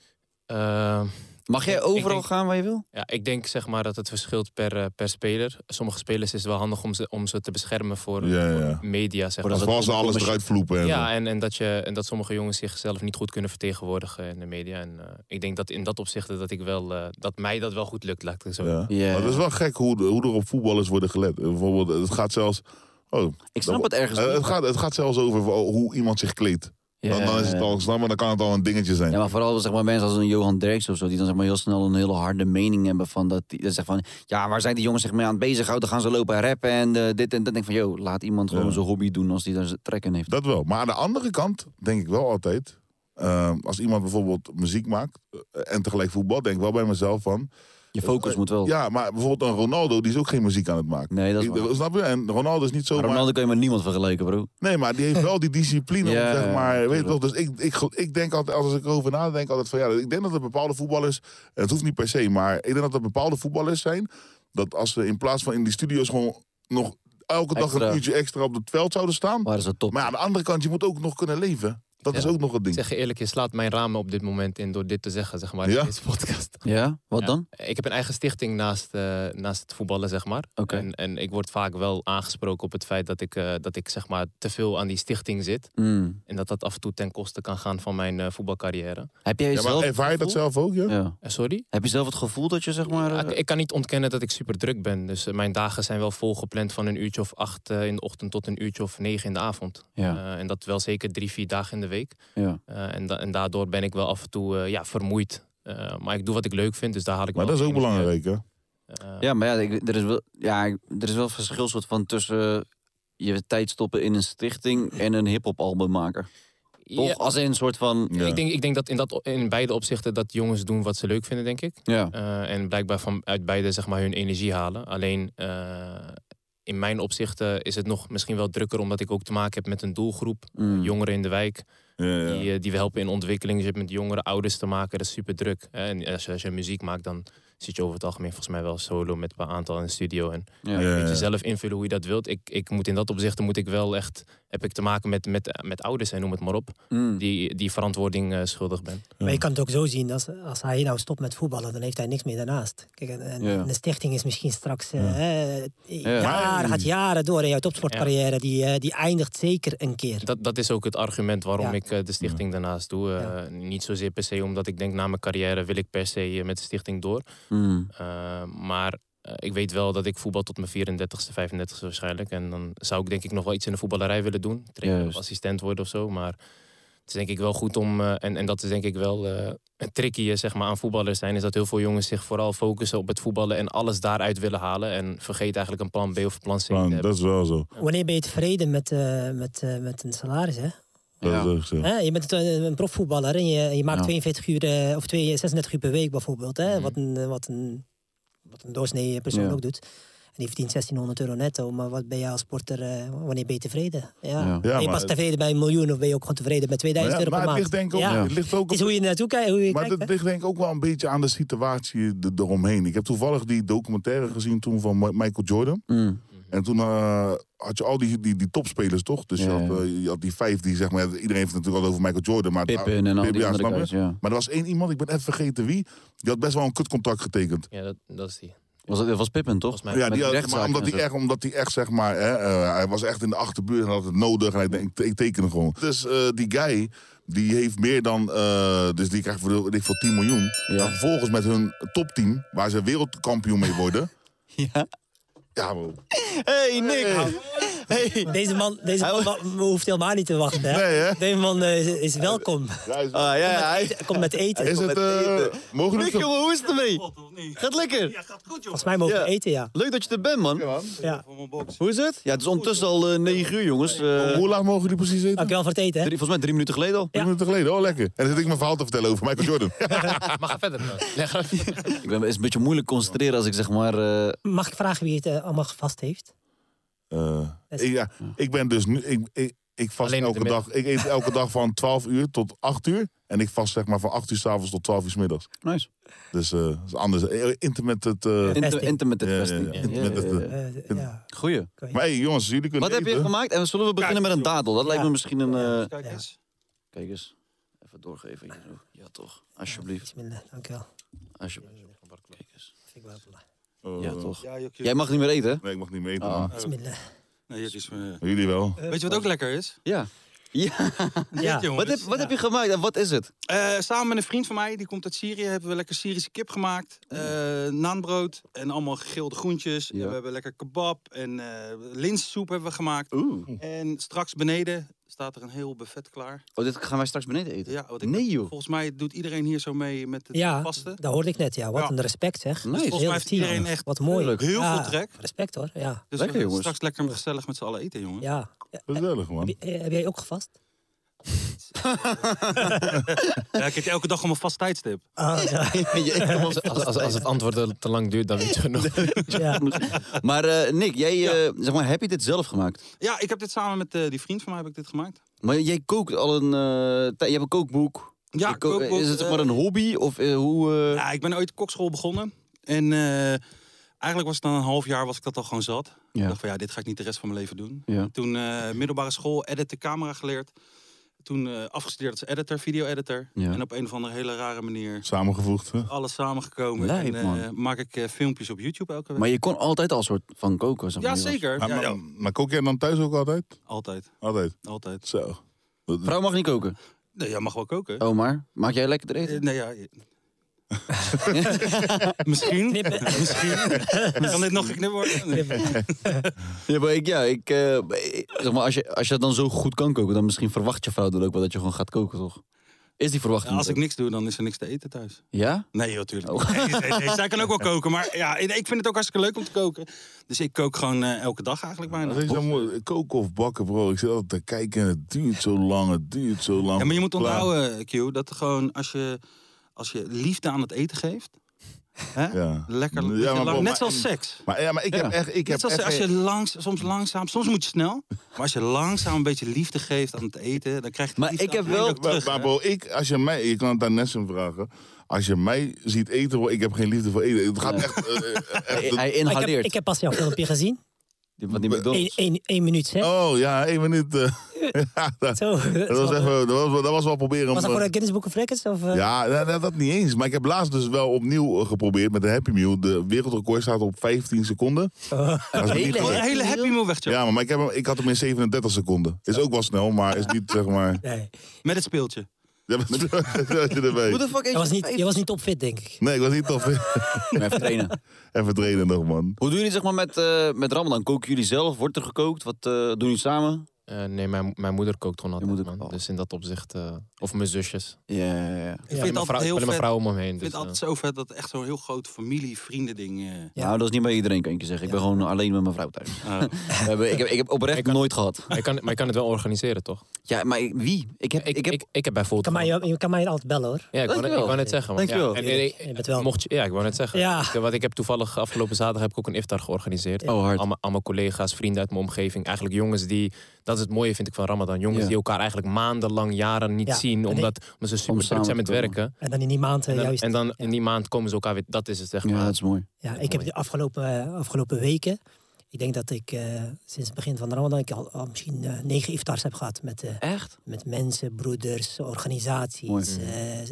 Eh,
Mag jij
Ik
overal
denk-
gaan waar je wil?
ja, ik denk zeg maar dat het verschilt per, eh, per speler. Sommige spelers is het wel handig om ze, om ze te beschermen voor,
Ja,
voor
ja.
media, zeg maar.
als
dat
was ze
komt
alles
omdat je-
eruit vloepen. En
Ja,
zo.
en, en, dat je, en dat sommige jongens zichzelf niet goed kunnen vertegenwoordigen in de media. En eh, ik denk dat in dat opzicht dat, ik wel, eh, dat mij dat wel goed lukt, laat ik het zo
Ja.
zeggen.
Ja.
Maar het is wel gek hoe, hoe er op voetballers worden gelet. Eh, Bijvoorbeeld, het gaat zelfs. Oh,
Ik snap het ergens
eh,
niet.
het, gaat, het gaat zelfs over oh, hoe iemand zich kleedt. Dan, dan is het al, snap, maar dan kan het al een dingetje zijn.
Ja, maar vooral zeg maar, mensen als een Johan Derks of zo, die dan zeg maar, heel snel een hele harde mening hebben van dat die dat zegt van ja, waar zijn die jongens zich mee aan het bezighouden? Gaan ze lopen en rappen en eh, dit en dat. denk ik van joh, laat iemand gewoon zijn hobby doen als die daar zijn trek in heeft.
Dat wel. Maar aan de andere kant denk ik wel altijd. ehm, als iemand bijvoorbeeld muziek maakt eh, en tegelijk voetbal, denk ik wel bij mezelf van. eh,
Je focus moet wel.
Ja, maar bijvoorbeeld een Ronaldo, die is ook geen muziek aan het maken.
Nee, dat is
Ik-
waar.
Snap je? En Ronaldo is niet
Maar
zomaar.
Ronaldo kan je met niemand vergelijken, bro.
Nee, maar die heeft wel die discipline. om,
Ja,
zeg maar, weet je
tuurlijk.
wel. Dus ik, ik, gel- ik denk altijd, als ik erover nadenk, altijd van ja, ik denk dat er bepaalde voetballers. en Het hoeft niet per se, maar ik denk dat er bepaalde voetballers zijn. Dat als ze in plaats van in die studio's gewoon nog elke dag
Extra.
een uurtje extra op het veld zouden staan.
Waar is het top?
Maar ja, aan de andere kant, je moet ook nog kunnen leven. Dat is ook nog een
Ik
ding.
zeg je eerlijk, je slaat mijn ramen op dit moment in door dit te zeggen, zeg maar,
Ja?
in deze podcast.
Ja, wat
Ja.
dan?
Ik heb een eigen stichting naast, eh, naast het voetballen, zeg maar.
Oké.
En, en ik word vaak wel aangesproken op het feit dat ik, eh, dat ik zeg maar, te veel aan die stichting zit.
Mm.
En dat dat af en toe ten koste kan gaan van mijn eh, voetbalcarrière.
Heb jij
Ja, maar
zelf?
ervaar je dat zelf ook, ja?
Ja.
Eh, sorry?
Heb je zelf het gevoel dat je zeg maar. eh,
Ja, ik- ik kan niet ontkennen dat ik super druk ben. Dus eh, mijn dagen zijn wel volgepland van een uurtje of acht eh, in de ochtend tot een uurtje of negen in de avond.
Ja.
Eh, en dat wel zeker drie, vier dagen in de week.
ja.
Eh, en, da- en daardoor ben ik wel af en toe eh, ja, vermoeid. Eh, maar ik doe wat ik leuk vind, dus daar haal ik
Maar
wel
dat is ook
energie uit.
belangrijk, hè?
Eh,
Ja, maar ja, ik- er is wel, ja, ik- er is wel verschil soort van tussen eh, je tijd stoppen in een stichting en een hip-hop album maken. Toch?
ja,
Als in een soort van.
Ja.
Ik, denk, ik denk dat in, dat o- in beide opzichten dat jongens doen wat ze leuk vinden, denk ik.
Ja.
Eh, en blijkbaar van, uit beide zeg maar, hun energie halen. Alleen eh, in mijn opzichten is het nog misschien wel drukker, omdat ik ook te maken heb met een doelgroep.
Mm.
Jongeren in de wijk,
Ja, ja.
die, eh, die we helpen in ontwikkeling. Je hebt met jongeren, ouders te maken, dat is super druk. En als je, als je muziek maakt, dan zit je over het algemeen volgens mij wel solo met een paar aantal in de studio. En
Ja.
Ja,
je moet
ja.
jezelf invullen hoe je dat wilt. Ik, ik moet in dat opzicht moet ik wel echt, heb ik te maken met, met, met ouders en noem het maar op,
Mm.
die, die verantwoording eh, schuldig ben.
Maar je kan het ook zo zien, als, als hij nou stopt met voetballen, dan heeft hij niks meer daarnaast. Kijk, en, en
Ja.
de stichting is misschien straks eh, hè,
Maar-
jaren, gaat jaren door. En jouw topsportcarrière, die, eh, die eindigt zeker een keer.
Dat, dat is ook het argument waarom
Ja.
ik eh, de stichting daarnaast doe. Eh, Niet zozeer per se omdat ik denk na mijn carrière wil ik per se eh, met de stichting door.
Mm.
Eh, maar eh, ik weet wel dat ik voetbal tot mijn 34ste, 35ste waarschijnlijk. En dan zou ik denk ik nog wel iets in de voetballerij willen doen. Trainer of
Juist.
assistent worden of zo. Maar het is denk ik wel goed om... eh, en, en dat is denk ik wel eh het tricky zeg maar, aan voetballers zijn. Is dat heel veel jongens zich vooral focussen op het voetballen. En alles daaruit willen halen. En vergeet eigenlijk een plan B of plan C te
Man,
hebben.
dat is wel zo.
Wanneer ben je tevreden met, eh, met, eh, met een salaris, hè?
Dat
Ja.
is ook zo.
Hè, je bent een, een profvoetballer en je, je maakt
Ja. Mhm.
42 uur eh, of 2, 36 uur per week bijvoorbeeld. Hè? Wat, een, eh, wat, een, wat een doorsnee persoon
Ja.
ook doet. En die verdient 1600 euro netto. Maar wat ben je als sporter, eh, wanneer ben je tevreden? Ja.
Ja.
ben je
maar-
pas tevreden bij een miljoen of ben je ook gewoon tevreden met 2000
Maar ja,
euro per
maar het
maand?
ligt denk ik ook-
Ja.
het ligt ook
Het is
op-
hoe je naartoe kijkt. Hoe je
Maar
kijkt
dat
hè?
ligt denk ik ook wel een beetje aan de situatie er- eromheen. Ik heb toevallig die documentaire gezien toen van Ma- Michael Jordan.
Mm.
En toen eh, had je al die, die, die topspelers, toch? Dus je,
Ja,
had,
ja.
eh, je had die vijf die, zeg maar... Iedereen heeft het natuurlijk altijd over Michael Jordan. Maar
Pippen en al die
ja,
andere
snap je?
guys, ja.
Maar er was één iemand, ik ben even vergeten wie... die had best wel een kutcontract getekend.
Ja, dat, dat is die.
Was, dat was Pippen, toch?
Volgens mij.
Ja,
Met
die
die
had, maar
rechtszaken
omdat
en
hij
zo.
echt, omdat hij echt zeg maar, hè, eh, hij was echt in de achterbuurt en had het nodig. En hij denkt, ik, ik teken hem gewoon. Dus eh, die guy, die heeft meer dan, eh, dus die krijgt voor, weet ik, voor 10 miljoen.
Ja.
Dan vervolgens met hun topteam, waar ze wereldkampioen mee worden.
Ja.
Ja, bro.
Hey Nick! Hey.
Deze man, deze man wa- hoeft helemaal niet te wachten. Hè?
Nee, hè?
Deze man eh, is, is welkom.
Ja, is,
Ah, ja, ja, hij...
Kom met eten.
is het... eh mogen we
Mick,
het zo...
jongen, hoe is het ermee? Gaat lekker.
Volgens mij mogen
Ja.
we eten, ja.
Leuk dat je er bent, man.
ja.
Hoe is het? Ja, het is ondertussen al eh, 9 uur, jongens. Eh,
Hoe laag mogen die precies
Ah,
zitten?
Dankjewel voor het eten. hè.
drie- volgens mij drie minuten geleden al.
Drie minuten geleden, oh lekker. En dan zit ik mijn verhaal te vertellen over Michael Jordan.
Maar ga verder. man. Leg uit.
Ik ben, het is een beetje moeilijk concentreren als ik zeg maar... eh,
Mag ik vragen wie het eh, allemaal gevast heeft?
Eh, ik, ja, ik ben dus nu... Ik, ik, ik vast
Alleen in de
elke dag... Ik eet elke dag van 12 uur tot 8 uur. En ik vast zeg maar van 8 uur s'avonds tot 12 uur 's middags.
nice.
Dus eh, dat is anders. Eh, Intermittent... eh,
Inter,
Fasting.
intermittent
Ja, ja,
fasting.
ja,
Ja, ja,
intermittent,
ja, ja.
Eh, ja.
Goeie.
Maar hey, jongens, jullie kunnen
Wat heb je
eten.
gemaakt? En zullen we beginnen met een dadel? Dat lijkt me misschien een... eh,
Ja.
Kijk eens. Even doorgeven. hier zo. Ja, toch. Alsjeblieft.
Iets minder, dankjewel.
Alsjeblieft. Kijk eens.
Vind ik wel belangrijk.
Ja, toch. Jij mag niet meer eten, hè?
Oh, Nee, ik mag niet meer eten.
Ah.
man.
Iets minder.
Jullie wel.
Eh,
Weet je wat ook lekker is?
Ja. ja.
Ja.
Wat, heb, wat heb je gemaakt en wat is het?
Eh, samen met een vriend van mij, die komt uit Syrië, hebben we lekker Syrische kip gemaakt. eh naanbrood en allemaal gegrilde groentjes.
Ja.
En we hebben lekker kebab en eh linssoep hebben we gemaakt.
Oeh.
En straks beneden staat er een heel buffet klaar.
Oh, dit gaan wij straks beneden eten?
Ja, wat ik
nee, joh.
Volgens mij doet iedereen hier zo mee met het
Ja,
vasten.
dat hoorde ik net. Ja. Wat
Ja.
een respect, zeg.
Nice. Volgens
mij
Heel
heeft
team.
iedereen echt
Wat mooi.
Tuurlijk.
Heel
Ja,
veel trek.
Respect, hoor. Ja.
Dus
Lekker,
we gaan
jongens.
straks lekker gezellig met z'n allen eten, jongen.
ja. Eh,
Gezellig, man.
heb je- eh, Heb jij ook gevast?
Ja, ik heb elke dag om een vast tijdstip.
Ah, ja.
Als, als, als het antwoord te lang duurt, dan weet je genoeg.
ja.
Maar eh, Nick, jij, eh, zeg maar, heb je dit zelf gemaakt?
Ja, ik heb dit samen met eh, die vriend van mij heb ik dit gemaakt.
Maar jij kookt al een... eh, tij- je hebt een kookboek.
Ja,
Je ko-
kookboek,
Is het zeg maar
eh,
een hobby? Of eh, hoe... eh,
Ja, ik ben ooit kokschool begonnen. En eh, eigenlijk was het dan een half jaar was ik dat al gewoon zat.
Ja.
Ik dacht van ja, dit ga ik niet de rest van mijn leven doen.
Ja.
Toen eh, middelbare school, edit de camera geleerd. Toen eh, afgestudeerd als editor, video-editor.
Ja.
En op een of andere hele rare manier
Samengevoegd. hè?
alles samengekomen.
Lijp,
en eh,
man.
maak ik eh, filmpjes op YouTube elke week.
Maar je kon altijd al soort van koken, zeg maar.
ja,
Je was-
zeker.
Maar,
Ja,
maar,
ja,
maar kook jij dan thuis ook altijd?
Altijd,
Altijd.
altijd.
Zo. Dat-
Vrouw mag niet koken.
Nee, jij mag wel koken.
Oh, maar maak jij lekker
Eh,
eten?
nee, ja. je- Misschien. Misschien. kan dit nog geknipt worden?
Ja, maar ik, ja, ik, eh, ik- zeg maar, als je, als je dat dan zo goed kan koken, dan misschien verwacht je vrouw dan ook wel dat je gewoon gaat koken, toch? Is die verwachting?
Ja, als ik
er?
niks doe, dan is er niks te eten thuis.
Ja?
Nee, joh, tuurlijk. Nee, nee, nee. Zij kan ook wel koken, maar ja, ik vind het ook hartstikke leuk om te koken. Dus ik kook gewoon eh, elke dag eigenlijk
Dat is
bijna.
dan mooi. Koken of bakken, bro. Ik zit altijd te kijken en het duurt zo lang, het duurt zo lang.
Ja, maar je moet
Klaar.
onthouden, Q, dat gewoon als je, als je liefde aan het eten geeft, hè?
Ja.
lekker,
Ja,
dat je
maar
lang-
bro,
net
maar-
zoals seks.
Maar, ja, maar ik heb
Ja.
echt... Ik
Net
heb
zoals
echt
als je
geen-
langs, soms langzaam, soms moet je snel, maar als je langzaam een beetje liefde geeft aan het eten, dan krijg je die
Maar
liefde
ik heb
aan het
wel-
einde ook
Maar,
terug.
maar
hè.
bro, ik, als je mij... Je kan het aan Nessim vragen. Als je mij ziet eten, bro, ik heb geen liefde voor eten. Het gaat echt... eh, eh, echt-
Hij, hij
Maar ik, heb,
inhaleert.
ik heb pas jouw filmpje gezien.
Die- Wat die
Eén
McDonald's.
één- één minuut, hè?
oh, ja, één minuut. eh. Ja, dat,
Zo.
dat was even, dat, was, wel- dat was wel proberen. om- eh,
Was dat voor een Guinness Book of Records? Of, eh?
Ja, nou, nou, dat niet eens. Maar ik heb laatst dus wel opnieuw eh, geprobeerd met de Happy Meal. De wereldrecord staat op 15 seconden. Dat is niet
Gewoon
gelukt.
een hele happy meal weg, joh.
Ja, maar, maar ik, heb hem, ik had hem in 37 seconden. Is ook wel snel, maar is niet zeg maar.
Nee.
met het speeltje.
Ja, maar- dat je erbij.
Hoe de fuck eet
Je was, niet,
vijf-
je was niet topfit, denk ik.
Nee, ik was niet tof.
Nee, even trainen.
Even trainen nog, man.
Hoe doen jullie zeg maar met, eh met Ramadan? Koken jullie zelf? Wordt er gekookt? Wat eh, doen jullie samen?
Eh, nee, mijn, mijn moeder kookt gewoon altijd,
moeder-
man.
oh.
Dus in dat opzicht... eh, of mijn zusjes.
Ja, ja, ja.
Ik
Alleen
vind
mijn
het
vrouw,
altijd heel
alleen mijn
vet.
vrouw om me heen.
Ik vind
Dus,
het altijd
eh,
zo vet dat echt zo'n heel groot familie-vrienden-ding. eh,
Ja.
Nou, dat is niet bij iedereen, kan ik je zeggen. Ik ben gewoon alleen met mijn vrouw thuis.
Oh.
We hebben- ik, heb, ik heb oprecht nooit gehad.
eh. maar, je kan, maar je kan het wel organiseren, toch?
Ja, maar ik- wie? Ik heb...
Ik,
Ik heb
ik, ik heb
Kan
bijvoorbeeld...
mij, je kan mij altijd bellen, hoor.
Ja, ik wou, net- ik
Dankjewel.
wou net zeggen. man.
Dankjewel.
Ja, en, en-
Erik, je bent wel-
Mocht je, ja, ik wou net zeggen.
Ja.
Ik, eh, want ik heb toevallig afgelopen zaterdag heb ik ook een iftar georganiseerd.
Oh, hard.
Allemaal, allemaal collega's, vrienden uit mijn omgeving. Eigenlijk jongens die, dat is het mooie vind ik van Ramadan. Jongens
Ja.
die elkaar eigenlijk maandenlang, jaren niet
Ja.
zien.
En ik-
Omdat, omdat ze
Om
super druk
samen
zijn
te
met
komen.
werken.
En dan in die maand eh,
En dan,
juist.
en dan
ja.
in die maand komen ze elkaar weer. Dat is het zeg maar.
Ja, dat is mooi.
Ja, ik heb de afgelopen, eh, afgelopen weken, ik denk dat ik eh, sinds het begin van de Ramadan, ik al, al misschien eh, negen iftars heb gehad met, eh,
Echt?
met mensen, broeders,
Mooi.
organisaties, eh, eh,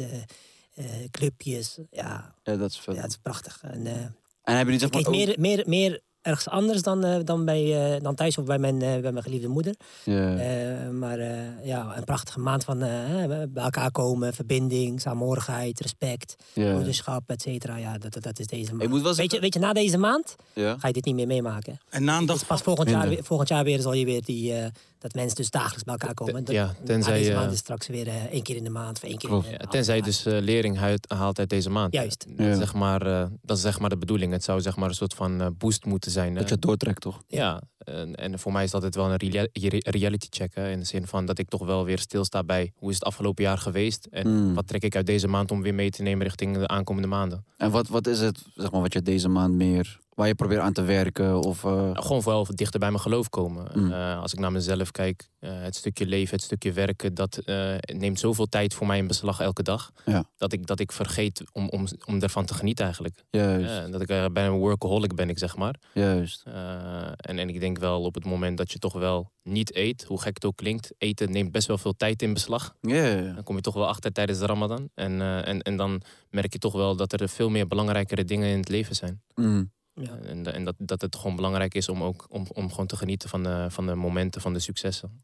eh, clubjes. Ja,
Ja, dat is vet.
ja, het is prachtig. En, eh,
En hebben jullie zeg
kijk,
maar ook-
meer, meer, meer ergens anders dan, eh, dan, bij, eh, dan thuis of bij mijn, eh, bij mijn geliefde moeder.
Ja.
Eh, maar eh, ja, een prachtige maand van eh, bij elkaar komen, verbinding, saamhorigheid, respect,
Ja.
broederschap, et cetera. Ja, dat, dat, dat is deze
Ik moet
maand.
wel
Weet
zeggen-
je, weet je, na deze maand
Ja.
ga je dit niet meer meemaken.
En na een dag
Dus pas volgend jaar,
Minder.
weer- volgend jaar weer zal je weer die, eh, dat mensen dus dagelijks bij elkaar komen. Dat-
ja, tenzij
na deze
je-
maand is straks weer eh, één keer in de maand of één keer
Klopt.
in de
Ja, tenzij je dus eh, lering huid- haalt uit deze maand.
Juist.
Ja.
Zeg maar, eh, dat is zeg maar de bedoeling. Het zou zeg maar een soort van eh, boost moeten zijn.
Dat
eh.
je het doortrekt, toch?
Ja, en, en voor mij is dat het wel een reali- re- reality check. hè, in de zin van dat ik toch wel weer stilsta bij hoe is het afgelopen jaar geweest. En
Mm.
wat trek ik uit deze maand om weer mee te nemen richting de aankomende maanden.
En wat, wat is het, zeg maar, wat je deze maand meer... Waar je probeert aan te werken of... eh,
Nou, gewoon vooral dichter bij mijn geloof komen.
Mm.
Eh, als ik naar mezelf kijk, eh, het stukje leven, het stukje werken, dat eh, neemt zoveel tijd voor mij in beslag elke dag.
Ja.
Dat, ik, dat ik vergeet om, om, om ervan te genieten eigenlijk.
juist,
Ja, dat ik eh, bijna een workaholic ben, ik zeg maar.
juist.
Eh, en, en ik denk wel op het moment dat je toch wel niet eet, hoe gek het ook klinkt, eten neemt best wel veel tijd in beslag.
Ja, ja, ja.
Dan kom je toch wel achter tijdens de Ramadan. En, eh, en, en dan merk je toch wel dat er veel meer belangrijkere dingen in het leven zijn.
Mm.
Ja.
En, en dat, dat het gewoon belangrijk is om ook om, om gewoon te genieten van de, van de momenten, van de successen.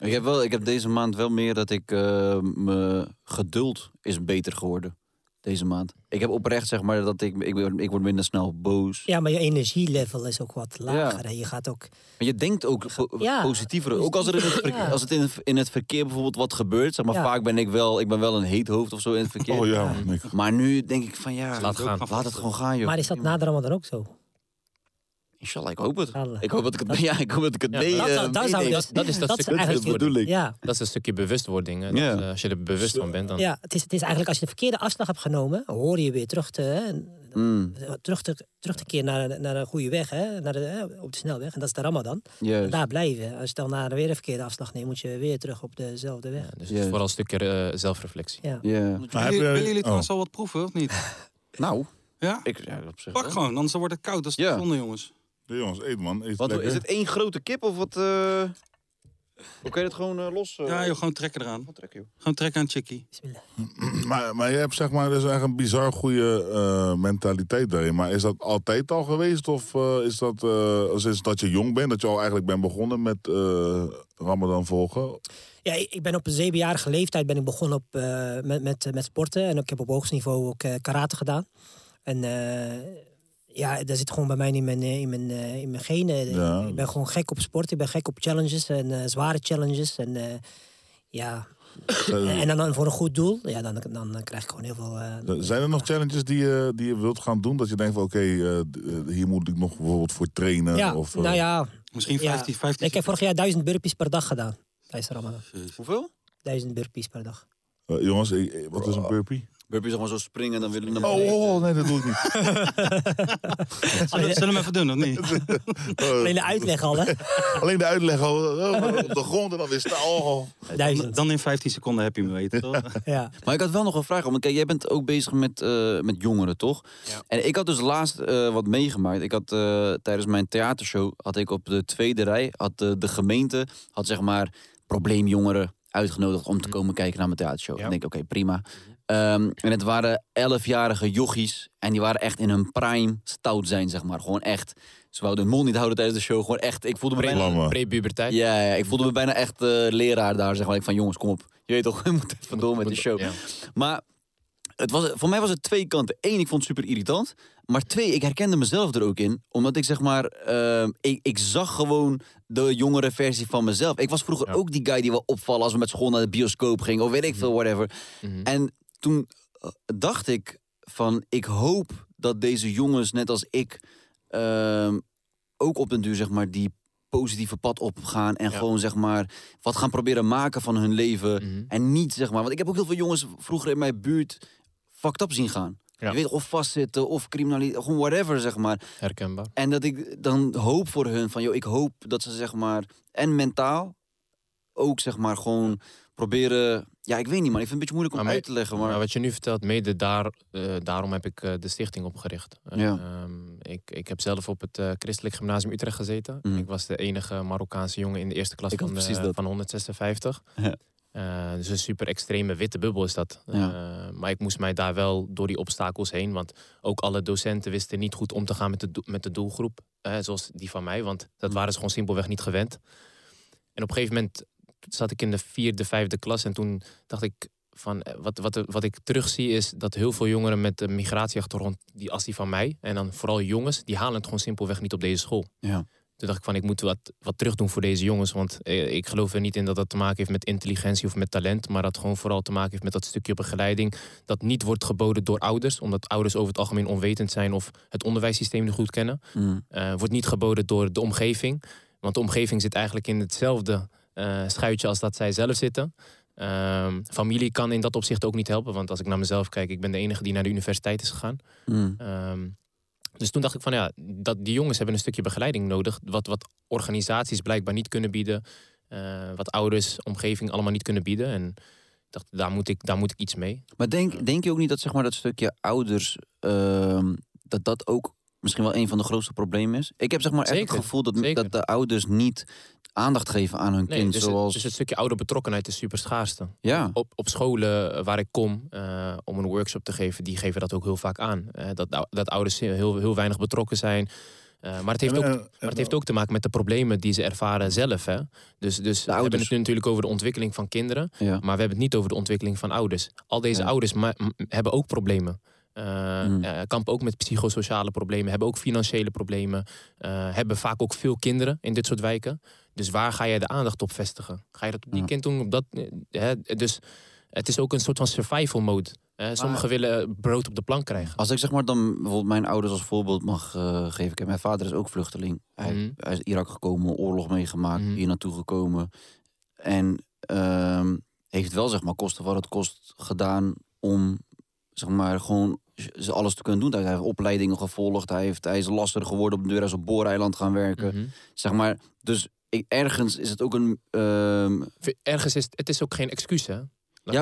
Ik, heb wel, ik heb deze maand wel meer dat ik... eh, mijn geduld is beter geworden deze maand. Ik heb oprecht, zeg maar, dat ik... Ik, word- ik word minder snel boos.
Ja, maar je energielevel is ook wat lager. En je gaat ook...
Maar je denkt ook po-
Ja, Dus
positiever. Ook als, er in het verkeer,
ja.
als het in het, in het verkeer bijvoorbeeld wat gebeurt. Zeg maar,
Ja.
Vaak ben ik wel, ik ben wel een heet hoofd of zo in het verkeer.
Oh ja, Nick.
Maar nu denk ik van ja,
Laat gaan.
laat het gewoon gaan joh.
Maar is dat nou- na de Ramadan ook zo?
Inshallah, ik hoop het.
Inshallah.
Ik hoop dat ik het, ja, ik hoop dat ik het mee,
dat
eh,
zou- dat zou
meeneem.
dus-
Dat is dat,
Dat is
stukje
Dat
eigenlijk-
bedoel ik.
Ja,
Dat is een stukje bewustwording. hè. Dat,
Ja.
eh, als je er bewust van bent, dan...
ja het, is, het is eigenlijk als je de verkeerde afslag hebt genomen, hoor je weer terug te, hè,
Mm,
terug te, terug te keren naar, naar een goede weg, hè, naar de, hè, op de snelweg. En dat is de Ramadan.
Dus-
juist.
Daar blijven. Als je dan naar weer een verkeerde afslag neemt, moet je weer terug op dezelfde weg.
Ja, dus het
Juist.
is vooral een stukje eh, zelfreflectie.
Ja.
Ja.
Maar heb
Willen,
jij-
willen jullie
oh.
trouwens al wat proeven of niet?
Nou,
Ja?
ik ja, op zich.
Pak
wel.
gewoon, anders wordt het koud. Dat is
Ja.
toch zonde, jongens.
Ja, jongens, eet man. Eet
Wat,
lekker.
is het één grote kip of wat? eh Hoe kan je dat gewoon eh, los? eh,
Ja, joh, gewoon trekken eraan.
wat trekken, joh?
Gewoon trekken aan Chicky.
Bismillah.
Maar, maar je hebt zeg maar dus echt een bizar goede eh, mentaliteit daarin. Maar is dat altijd al geweest? Of eh, is dat eh, sinds dat je jong bent, dat je al eigenlijk bent begonnen met eh, Ramadan volgen?
Ja, ik ik ben op een zevenjarige leeftijd ben ik begonnen op, eh, met, met, met sporten. En ik heb op hoogst niveau ook eh, karate gedaan. En eh, ja, dat zit gewoon bij mij in mijn, eh, in mijn, eh, in mijn genen.
Ja.
Ik ben gewoon gek op sport. Ik ben gek op challenges en eh, zware challenges. En eh, ja, en dan- dan voor een goed doel. Ja, dan, dan eh, krijg ik gewoon heel veel... eh,
Zijn er nog challenges die je, die je wilt gaan doen? Dat je denkt van oké, eh, d- eh, hier moet ik nog bijvoorbeeld voor trainen?
ja,
of, eh,
nou ja.
Misschien
ja.
15, 15.
Ik heb vorig jaar duizend burpees per dag gedaan. Tijdens de Ramadan.
Hoeveel?
Duizend burpees per dag.
eh, jongens, ik- eh, wat is een burpee?
Burpees gewoon zo springen en dan willen we naar
Oh,
beneden.
oh, nee, dat doe ik niet.
Zullen we- zullen we hem even doen, of niet?
Alleen de uitleg al, hè?
Alleen de uitleg al, eh, op de grond en dan weer staan. Oh.
Duizend.
Dan in 15 seconden heb je hem weten, toch?
Ja.
Maar ik had wel nog een vraag. Want kijk, jij bent ook bezig met, eh, met jongeren, toch? En ik had dus laatst eh, wat meegemaakt. Ik had eh, tijdens mijn theatershow, had ik op de tweede rij, had eh, de gemeente, had zeg maar probleemjongeren uitgenodigd om te komen kijken naar mijn theatershow.
Ja.
Ik denk, oké, prima. Ehm, en het waren 11-jarige jochies. En die waren echt in hun prime stout zijn, zeg maar. Gewoon echt. Ze wouden hun mond niet houden tijdens de show. Gewoon echt. Ik voelde me bijna
Lamme.
Pre-puberteit.
ja, ja, ik voelde me bijna echt eh, leraar daar. Zeg maar. Ik van jongens, kom op. Je weet toch, we moeten even door met de show.
Ja.
Maar het was, voor mij was het twee kanten. Eén, ik vond het super irritant. Maar twee, ik herkende mezelf er ook in. Omdat ik zeg maar, ehm, ik, ik zag gewoon de jongere versie van mezelf. Ik was vroeger ook die guy die wel opvallen als we met school naar de bioscoop gingen. Of weet ik veel, whatever. En toen eh, dacht ik van, ik hoop dat deze jongens, net als ik, ehm, ook op den duur zeg maar die positieve pad opgaan en gewoon zeg maar wat gaan proberen maken van hun leven
Mhm.
en niet zeg maar want ik heb ook heel veel jongens vroeger in mijn buurt fucked up zien gaan
Ja.
je weet of vastzitten of criminaliteit gewoon whatever zeg maar
Herkenbaar.
en dat ik dan hoop voor hun van joh ik hoop dat ze zeg maar en mentaal ook zeg maar gewoon proberen ja ik weet niet man ik vind het een beetje moeilijk om
Maar
uit
mij-
te leggen
Maar
maar
Nou, wat je nu vertelt, mede daar, eh, daarom heb ik eh, de stichting opgericht. Eh,
Ja.
ehm, ik, ik heb zelf op het eh, Christelijk Gymnasium Utrecht gezeten.
Mm.
Ik was de enige Marokkaanse jongen in de eerste klas
Ik had
van, eh,
precies dat.
van 156.
Ja.
Eh, dus een super extreme witte bubbel is dat. Eh, maar ik moest mij daar wel door die obstakels heen. Want ook alle docenten wisten niet goed om te gaan met de, do- met de doelgroep. eh, zoals die van mij. Want dat waren ze gewoon simpelweg niet gewend. En op een gegeven moment zat ik in de vierde, vijfde klas. En toen dacht ik van eh, wat, wat, wat ik terugzie is dat heel veel jongeren met een migratieachtergrond, die als die van mij. En dan vooral jongens, die halen het gewoon simpelweg niet op deze school.
Ja.
Toen dacht ik van, ik moet wat, wat terug doen voor deze jongens. Want eh, ik geloof er niet in dat dat te maken heeft met intelligentie of met talent. Maar dat gewoon vooral te maken heeft met dat stukje begeleiding. Dat niet wordt geboden door ouders. Omdat ouders over het algemeen onwetend zijn of het onderwijssysteem niet goed kennen.
Mm.
Eh, wordt niet geboden door de omgeving. Want de omgeving zit eigenlijk in hetzelfde eh, schuitje als dat zij zelf zitten. Ehm, familie kan in dat opzicht ook niet helpen. Want als ik naar mezelf kijk, ik ben de enige die naar de universiteit is gegaan.
Mm.
Ehm, dus toen dacht ik van ja, dat, die jongens hebben een stukje begeleiding nodig. Wat, wat organisaties blijkbaar niet kunnen bieden. eh, wat ouders, omgeving allemaal niet kunnen bieden. En ik dacht, daar moet ik, daar moet ik iets mee.
Maar denk, denk je ook niet dat zeg maar, dat stukje ouders, ehm, dat dat ook misschien wel een van de grootste problemen is? Ik heb zeg maar echt
Zeker,
het gevoel dat,
zeker.
dat de ouders niet aandacht geven aan hun
Nee,
kind.
dus, het-
zoals,
dus het stukje ouderbetrokkenheid is super schaarste.
ja,
Op, op scholen eh, waar ik kom eh, om een workshop te geven, die geven dat ook heel vaak aan. Eh, dat, ou- dat ouders heel, heel weinig betrokken zijn. Eh, maar het heeft
En,
ook
eh, en,
Maar het heeft ook te maken met de problemen die ze ervaren zelf. Hè? Dus, dus we hebben
ouders.
het nu natuurlijk over de ontwikkeling van kinderen.
Ja.
Maar we hebben het niet over de ontwikkeling van ouders. Al deze
Ja.
ouders ma- m- hebben ook problemen. Eh,
Mm.
eh, kampen ook met psychosociale problemen. Hebben ook financiële problemen. eh, hebben vaak ook veel kinderen in dit soort wijken. Dus waar ga jij de aandacht op vestigen? Ga je dat op die
Ja.
kind doen? Op dat, eh, hè? Dus het is ook een soort van survival mode. Eh, sommigen willen eh, brood op de plank krijgen.
Als ik zeg maar dan bijvoorbeeld mijn ouders als voorbeeld mag eh, geven. Kijk, mijn vader is ook vluchteling. Hij,
Mhm.
hij is Irak gekomen, oorlog meegemaakt,
Mhm.
hier naartoe gekomen. En ehm, heeft wel zeg maar kosten wat het kost gedaan om zeg maar gewoon z- alles te kunnen doen. Hij heeft opleidingen gevolgd, hij, heeft, hij is lastig geworden op de deur, hij is op Booreiland gaan werken.
Mhm.
Zeg maar, dus ik- ergens is het ook een... ehm,
Ergens is het is ook geen excuus. Hè? Laat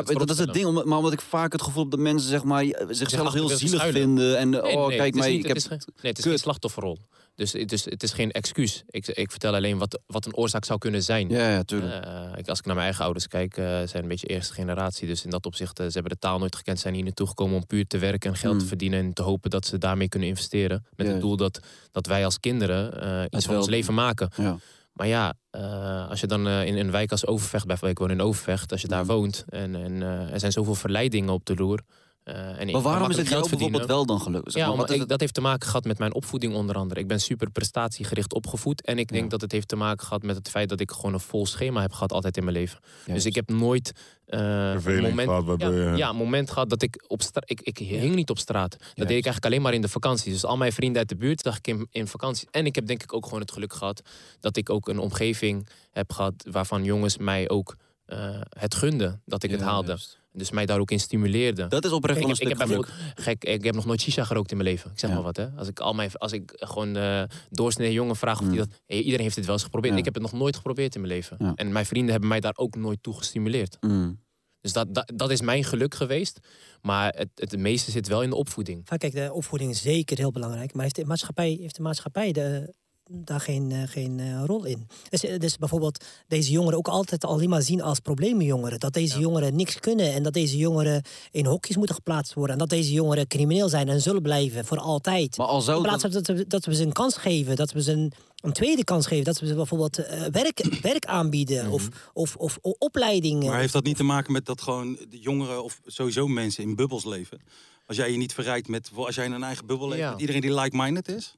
ik
ja,
het
dat is het
vooropstellen.
ding. omdat- Maar omdat ik vaak het gevoel heb dat mensen zeg maar, zichzelf
achter
heel
willen
zielig
schuilen.
vinden. En eh,
Nee,
oh,
nee,
kijk
het is
mij,
niet-
ik heb
het is, geen- nee, het is
kut.
geen slachtofferrol. Dus het is, het is geen excuus. Ik, ik vertel alleen wat, wat een oorzaak zou kunnen zijn.
Mm.
Ja, ja, tuurlijk.
Eh, ik, als ik naar mijn eigen ouders kijk, eh, zijn een beetje eerste generatie. Dus in dat opzicht, eh, ze hebben de taal nooit gekend. Zijn hier naartoe gekomen om puur te werken en geld
Mm.
te verdienen. En te hopen dat ze daarmee kunnen investeren. Met
Juist.
het doel dat, dat wij als kinderen eh,
Het
iets van ons
wel-
leven maken.
Ja.
Maar ja, eh, als je dan eh, in een wijk als Overvecht, bijvoorbeeld, ik woon in Overvecht. Als je
Hmm.
daar woont en, en eh, er zijn zoveel verleidingen op de loer. eh, en ik kan
Maar waarom is
makkelijk
het jou
verdienen.
bijvoorbeeld wel dan gelukt? Zeg
Ja,
maar, wat
omdat
is
ik,
het-
dat heeft te maken gehad met mijn opvoeding onder andere. Ik ben super prestatiegericht opgevoed. En ik denk
Ja.
dat het heeft te maken gehad met het feit dat ik gewoon een vol schema heb gehad altijd in mijn leven. Dus ik heb nooit eh, een
Verveling
moment,
gehad,
ja,
waardoor je-
ja, een moment gehad dat ik op straat... Ik, ik hing niet op straat. Dat deed ik eigenlijk alleen maar in de vakantie. Dus al mijn vrienden uit de buurt zag ik in, in vakantie. En ik heb denk ik ook gewoon het geluk gehad dat ik ook een omgeving heb gehad... waarvan jongens mij ook eh, het gunden dat ik het
Ja,
haalde.
juist.
Dus mij daar ook in stimuleerden.
Dat is oprecht
Ik
wel een
heb, ik,
stuk
heb
geluk.
bijvoorbeeld- gek, ik heb nog nooit shisha gerookt in mijn leven. Ik zeg
Ja.
maar wat, hè. Als ik, al mijn, als ik gewoon eh doorsnee jongen vraag of die dat... Hey, iedereen heeft dit wel eens geprobeerd.
Mm. Ja.
Ik heb het nog nooit geprobeerd in mijn leven.
Ja.
En mijn vrienden hebben mij daar ook nooit toe gestimuleerd.
Mm.
Dus dat, dat, dat is mijn geluk geweest. Maar het, het meeste zit wel in de opvoeding.
Vaak, kijk, de opvoeding is zeker heel belangrijk. Maar heeft de maatschappij, heeft de maatschappij de, daar geen, eh, geen eh, rol in? Dus, eh, dus bijvoorbeeld deze jongeren ook altijd alleen maar zien als probleemjongeren. Dat deze jongeren niks kunnen. En dat deze jongeren in hokjes moeten geplaatst worden. En dat deze jongeren crimineel zijn en zullen blijven voor altijd.
Maar al zou
In
dat-
plaats van dat, we- dat we ze een kans geven. Dat we ze een, een tweede kans geven. Dat we ze bijvoorbeeld eh, werk, werk aanbieden.
Mhm.
of, of, of, o- opleidingen.
Maar heeft dat niet te maken met dat gewoon de jongeren of sowieso mensen in bubbels leven? Als jij je niet verrijkt met, als jij in een eigen bubbel leeft,
Ja.
met iedereen die like-minded is.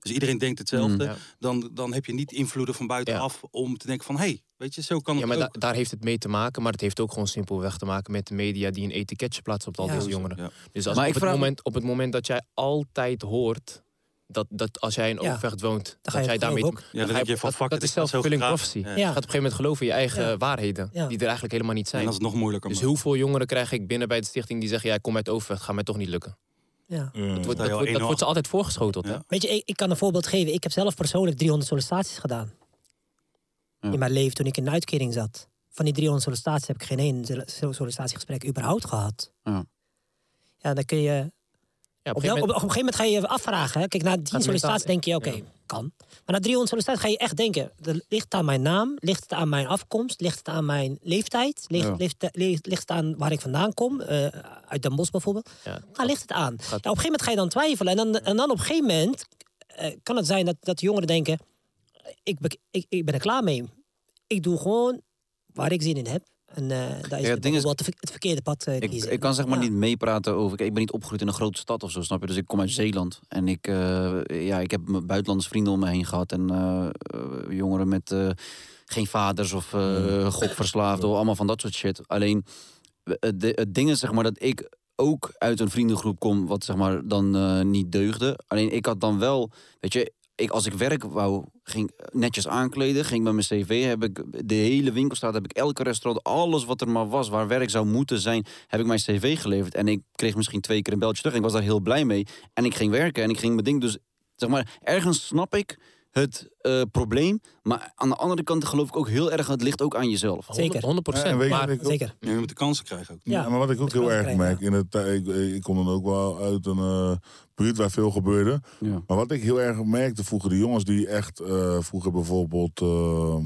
Dus iedereen denkt hetzelfde. dan, dan heb je niet invloeden van buitenaf om te denken van... hé, hey, weet je, zo kan
Ja,
het
maar da-
ook.
daar heeft het mee te maken. Maar het heeft ook gewoon simpelweg te maken met de media... die een etiketje plaatsen op al
Ja.
deze jongeren.
Ja.
Dus als
Maar
op,
ik
het
vraag me-
moment, op het moment dat jij altijd hoort... Dat, dat als jij in
Ja.
Overvecht woont,
je
dat jij
het
daarmee...
geloof ook.
Ja, dan denk je van,
dat-
fuck
dat
it,
is
ik had zo
zelfvervulling
gegraven.
prophecy.
Ja.
Je gaat op een gegeven moment geloven in je eigen
Ja.
waarheden.
Ja.
Die er eigenlijk helemaal niet
En
zijn.
dat is nog moeilijker.
Dus
man.
heel veel jongeren krijg ik binnen bij de stichting die zeggen... ja, ik kom uit Overvecht, gaat mij toch niet lukken.
ja.
Dat wordt,
Sta je
dat
al
wordt, dat
1-0
wordt ze altijd voorgeschoteld. hè?
Ja.
Weet je, ik, ik kan een voorbeeld geven. Ik heb zelf persoonlijk 300 sollicitaties gedaan. In mijn leven toen ik in de uitkering zat. Van die 300 sollicitaties heb ik geen één sol- sol- sollicitatiegesprek überhaupt gehad.
Ja.
Ja, dan kun je...
Ja,
Op,
op een
wel-
gegeven
op, op
moment-
een gegeven moment ga je je afvragen. Hè? Kijk, na 10
mentaal-
sollicitaties denk je, oké, kan. Maar na 300 sollicitaties ga je echt denken: de- ligt het aan mijn naam? Ligt het aan mijn afkomst? Ligt het aan mijn leeftijd? Ligt,
Ja.
ligt, ligt, ligt het aan waar ik vandaan kom? Eh, uit Den Bosch bijvoorbeeld?
Ja.
Waar ligt het aan? Ja, op een gegeven moment ga je dan twijfelen. En dan, en dan op een gegeven moment eh, kan het zijn dat, dat de jongeren denken: ik, bek- ik, ik ben er klaar mee. Ik doe gewoon waar ik zin in heb. En eh, daar is
het
het
ding is-
bijvoorbeeld het verkeerde pad eh,
Ik,
kiezen.
ik kan zeg maar
Ja.
niet meepraten over. Kijk, ik ben niet opgegroeid in een grote stad of zo, snap je? Dus ik kom
Mm.
uit Zeeland. En ik, eh, ja, ik heb mijn buitenlandse vrienden om me heen gehad. En eh, eh, jongeren met eh, geen vaders of eh
Mm.
gokverslaafden. of Allemaal van dat soort shit. Alleen eh, het, di- het ding is zeg maar dat ik ook uit een vriendengroep kom. wat zeg maar dan eh, niet deugde. Alleen ik had dan wel. Weet je, ik, als ik werk wou, ging eh, netjes aankleden, ging met mijn cv, heb ik de hele winkelstraat, heb ik elke restaurant, alles wat er maar was, waar werk zou moeten zijn, heb ik mijn cv geleverd. En ik kreeg misschien twee keer een beltje terug en ik was daar heel blij mee. En ik ging werken en ik ging mijn ding. Dus zeg maar, ergens snap ik het eh, probleem, maar aan de andere kant geloof ik ook heel erg, het ligt ook aan jezelf.
Zeker.
100
Ja, en weet je wat ik ook-
Zeker.
Je moet de kansen krijgen ook.
Ja, maar wat ik ook heel erg
krijgen,
merk, in het, ik, eh, ik kom dan ook wel uit een eh, buurt waar veel gebeurde.
Ja.
Maar wat ik heel erg merkte vroeger, de jongens die echt eh, vroeger bijvoorbeeld eh,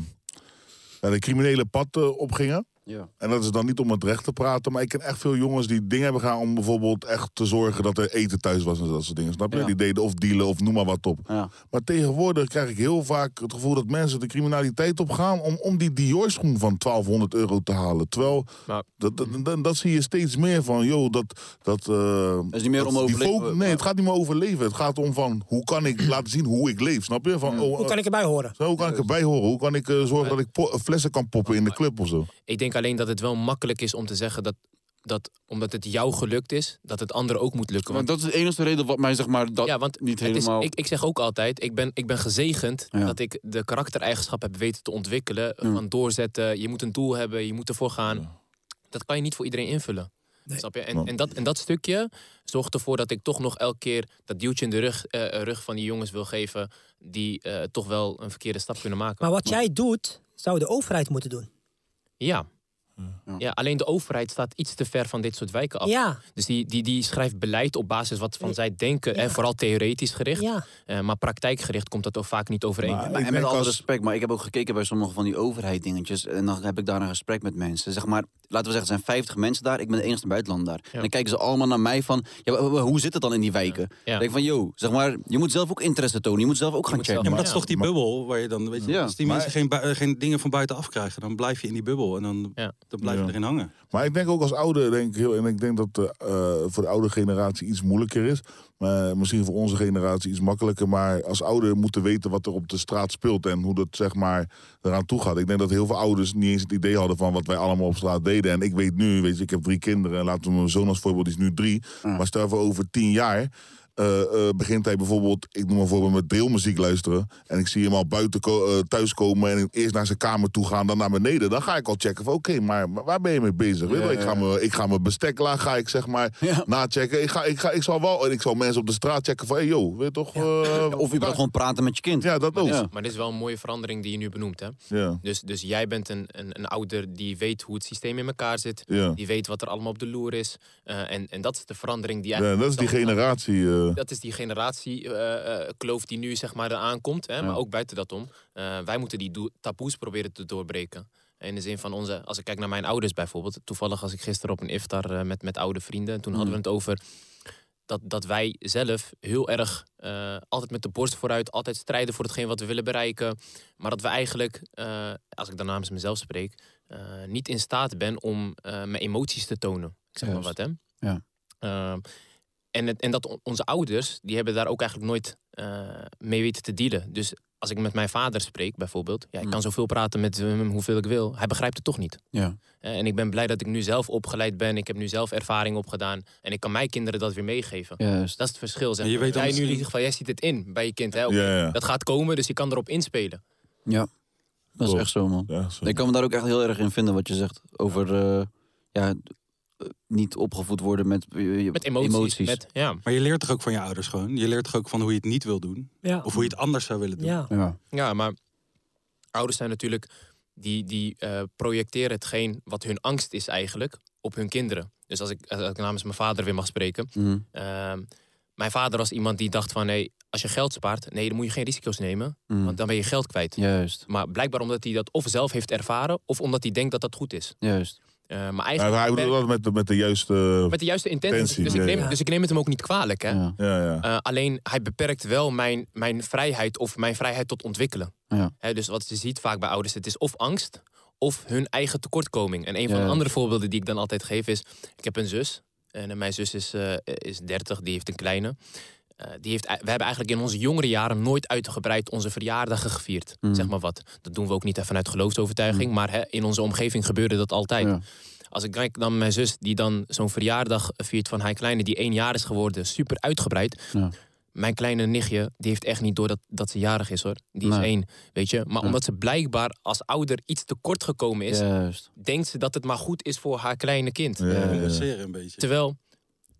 naar de criminele pad eh, opgingen.
Ja.
En dat is dan niet om het recht te praten, maar ik ken echt veel jongens die dingen hebben gedaan om bijvoorbeeld echt te zorgen dat er eten thuis was en dat soort dingen. Snap je?
Ja.
Die deden of dealen of noem maar wat op.
Ja.
Maar tegenwoordig krijg ik heel vaak het gevoel dat mensen de criminaliteit opgaan om, om die Dior-schoen van 1200 euro te halen. Terwijl
Nou.
dat, dat, dat, dat zie je steeds meer van, joh, dat. dat eh,
is niet meer
dat-
om
die
overleven.
focus- Nee, het gaat niet meer over leven. Het gaat om van hoe kan ik laten zien hoe ik leef, snap je? Van, oh,
Hoe
eh,
kan ik erbij horen?
zo, hoe kan ik erbij horen? Hoe kan ik eh, zorgen dat ik po- flessen kan poppen in de club of zo?
Ik denk alleen dat het wel makkelijk is om te zeggen dat, dat omdat het jou gelukt is, dat het anderen ook moet lukken.
Want
Want,
dat is de enige reden wat mij zeg maar dat
ja, want
niet
het is,
helemaal...
ik, ik zeg ook altijd, ik ben, ik ben gezegend
Ja.
dat ik de karaktereigenschap heb weten te ontwikkelen. Van doorzetten, je moet een doel hebben, je moet ervoor gaan. Dat kan je niet voor iedereen invullen. Snap je? En, en, dat, en dat stukje zorgt ervoor dat ik toch nog elke keer dat duwtje in de rug, eh, rug van die jongens wil geven. Die eh, toch wel een verkeerde stap kunnen maken.
Maar wat jij doet, zou de overheid moeten doen.
Ja. Ja, alleen de overheid staat iets te ver van dit soort wijken af.
Ja,
Dus die, die, die schrijft beleid op basis wat van zij denken. En vooral theoretisch gericht.
ja.
Eh, maar praktijkgericht komt dat ook vaak niet overeen.
Maar
Maar,
ik
en met
denk
alle
als-
respect, maar ik heb ook gekeken bij sommige van die overheid dingetjes. En dan heb ik daar een gesprek met mensen. Zeg maar, laten we zeggen, er zijn 50 mensen daar. Ik ben de enige buitenlander daar. En dan kijken ze allemaal naar mij van, ja, maar hoe zit het dan in die wijken?
Ja.
Dan denk ik van, yo, zeg maar, je moet zelf ook interesse tonen. Je moet zelf ook gaan
moet
checken.
Ja, maar
Ja,
dat is toch die
maar-
bubbel waar je dan, weet je,
Ja,
als die
maar-
mensen geen, bui- eh, geen dingen van buitenaf krijgen, dan blijf je in die bubbel en dan,
Ja.
dan blijf je
Ja.
erin hangen.
Maar ik denk ook als ouder, denk ik heel, en ik denk dat eh, eh, voor de oude generatie iets moeilijker is. Maar eh, misschien voor onze generatie iets makkelijker. Maar als ouder moeten weten wat er op de straat speelt en hoe dat zeg maar eraan toe gaat. Ik denk dat heel veel ouders niet eens het idee hadden van wat wij allemaal op straat deden. En ik weet nu, weet je, ik heb drie kinderen. En laten we mijn zoon als voorbeeld, die is nu drie. Maar stel voor over tien jaar. eh, eh, begint hij bijvoorbeeld, ik noem maar voorbeeld, met deelmuziek luisteren. En ik zie hem al buiten ko- eh, thuiskomen en eerst naar zijn kamer toe gaan, dan naar beneden. Dan ga ik al checken van, oké, maar maar waar ben je mee bezig? Weet je wel, ik, ga me, ik ga mijn bestek laag, ga ik zeg maar nachecken. Ik, ga, ik, ga, ik zal wel, en ik zal mensen op de straat checken van, hey, yo, weet je toch? eh,
Of je
daar-
bent gewoon praten met je kind.
Ja, dat ook. Ja.
Maar dit is wel een mooie verandering die je nu benoemt. Hè?
Ja.
Dus, dus jij bent een, een, een ouder die weet hoe het systeem in elkaar zit.
Ja.
Die weet wat er allemaal op de loer is. Eh, en, en dat is de verandering die
Ja,
eigenlijk...
dat is die generatie. eh,
dat is die generatie eh, eh, kloof die nu zeg maar eraan komt. Hè? Maar ook buiten dat om. Eh, wij moeten die doe- taboes proberen te doorbreken. In de zin van onze, als ik kijk naar mijn ouders bijvoorbeeld. Toevallig als ik gisteren op een iftar eh, met, met oude vrienden. En toen hadden we het over dat, dat wij zelf heel erg eh, altijd met de borst vooruit. Altijd strijden voor hetgeen wat we willen bereiken. Maar dat we eigenlijk, eh, als ik dan namens mezelf spreek. eh, niet in staat ben om eh, mijn emoties te tonen. Ik zeg maar
Juist.
wat hè.
Ja.
Ehm, en, het, en dat on- onze ouders, die hebben daar ook eigenlijk nooit eh, mee weten te dealen. Dus als ik met mijn vader spreek bijvoorbeeld,
Mm.
ja, ik kan zoveel praten met hem hoeveel ik wil. Hij begrijpt het toch niet.
Ja.
Eh, en ik ben blij dat ik nu zelf opgeleid ben. Ik heb nu zelf ervaring opgedaan. En ik kan mijn kinderen dat weer meegeven.
Juist.
Dat is het verschil. Zeg.
En je
maar.
weet dan
jij nu
misschien-
in ieder geval, jij ziet het in bij je kind. Hè? Oké,
Ja, ja.
Dat gaat komen, dus je kan erop inspelen.
Ja, dat is echt zo, man.
ja, zo.
Ik kan me daar ook echt heel erg in vinden wat je zegt. Over, eh, ja, eh, niet opgevoed worden met, eh,
Met emoties. Met, ja.
Maar je leert toch ook van je ouders gewoon? Je leert toch ook van hoe je het niet wil doen?
Ja.
Of hoe je het anders zou willen doen?
ja.
Ja.
ja, maar ouders zijn natuurlijk, die, die eh, projecteren hetgeen wat hun angst is eigenlijk op hun kinderen. Dus als ik, als ik namens mijn vader weer mag spreken.
Mhm.
Ehm, mijn vader was iemand die dacht van, hé, als je geld spaart, nee, dan moet je geen risico's nemen.
Mm.
Want dan ben je geld kwijt.
Juist,
Maar blijkbaar omdat hij dat of zelf heeft ervaren, of omdat hij denkt dat dat goed is.
juist.
Eh, maar
Ja,
eigenlijk
hij
ben-
bedoelt dat met, de- met de juiste...
met de juiste intentie.
Intentie,
dus, ik
ja,
neem,
ja.
dus ik neem het hem ook niet kwalijk. Hè?
Ja.
Ja, ja.
Eh, alleen hij beperkt wel mijn, mijn vrijheid of mijn vrijheid tot ontwikkelen.
Ja.
Hè, dus wat je ziet vaak bij ouders, het is of angst of hun eigen tekortkoming. En een van de
Ja.
andere voorbeelden die ik dan altijd geef is, ik heb een zus en eh, mijn zus is, eh, is 30, die heeft een kleine. Eh, die heeft, we hebben eigenlijk in onze jongere jaren nooit uitgebreid onze verjaardagen gevierd.
Mm.
Zeg maar wat. Dat doen we ook niet even vanuit geloofsovertuiging, maar hè, in onze omgeving gebeurde dat altijd.
Ja.
Als ik kijk naar mijn zus, die dan zo'n verjaardag viert van haar kleine, die één jaar is geworden, super uitgebreid.
Ja.
Mijn kleine nichtje, die heeft echt niet door dat, dat ze jarig is hoor. Die is
Nee.
één, weet je. Maar omdat ze blijkbaar als ouder iets tekort gekomen is,
Juist.
denkt ze dat het maar goed is voor haar kleine kind.
Ja, ja, ja.
Compenseren een beetje.
Terwijl,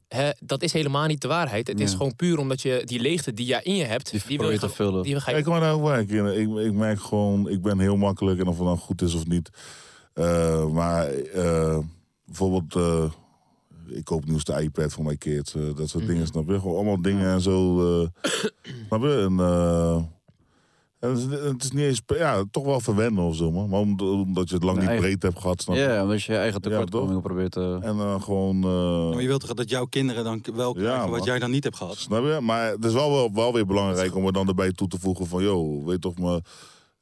hè, dat is helemaal niet de waarheid. Het is
Ja.
gewoon puur omdat je die leegte die jij in je hebt,
Die
wil je
probeert te
gewoon-
vullen.
Die ga je
Kijk maar naar werk. Ik, ik merk gewoon, ik ben heel makkelijk en of het dan goed is of niet. Eh, maar eh, bijvoorbeeld, eh, ik koop nieuws de iPad voor mijn kids. eh, dat soort dingen, snap je? Gewoon allemaal dingen en zo. eh, snap je? En, eh, en het, is, het is niet eens, per- ja, toch wel verwennen of zo, man. Maar om- omdat je het lang
Nee,
niet
eigen-
breed hebt gehad, snap je?
Ja, omdat je je eigen
Ja,
tekortkomingen probeert te...
En dan gewoon... eh,
Maar je wilt toch dat jouw kinderen dan wel krijgen
man.
wat jij dan niet hebt gehad?
Snap je? Maar het is wel, wel, wel weer belangrijk om er dan erbij toe te voegen van... joh, weet toch me...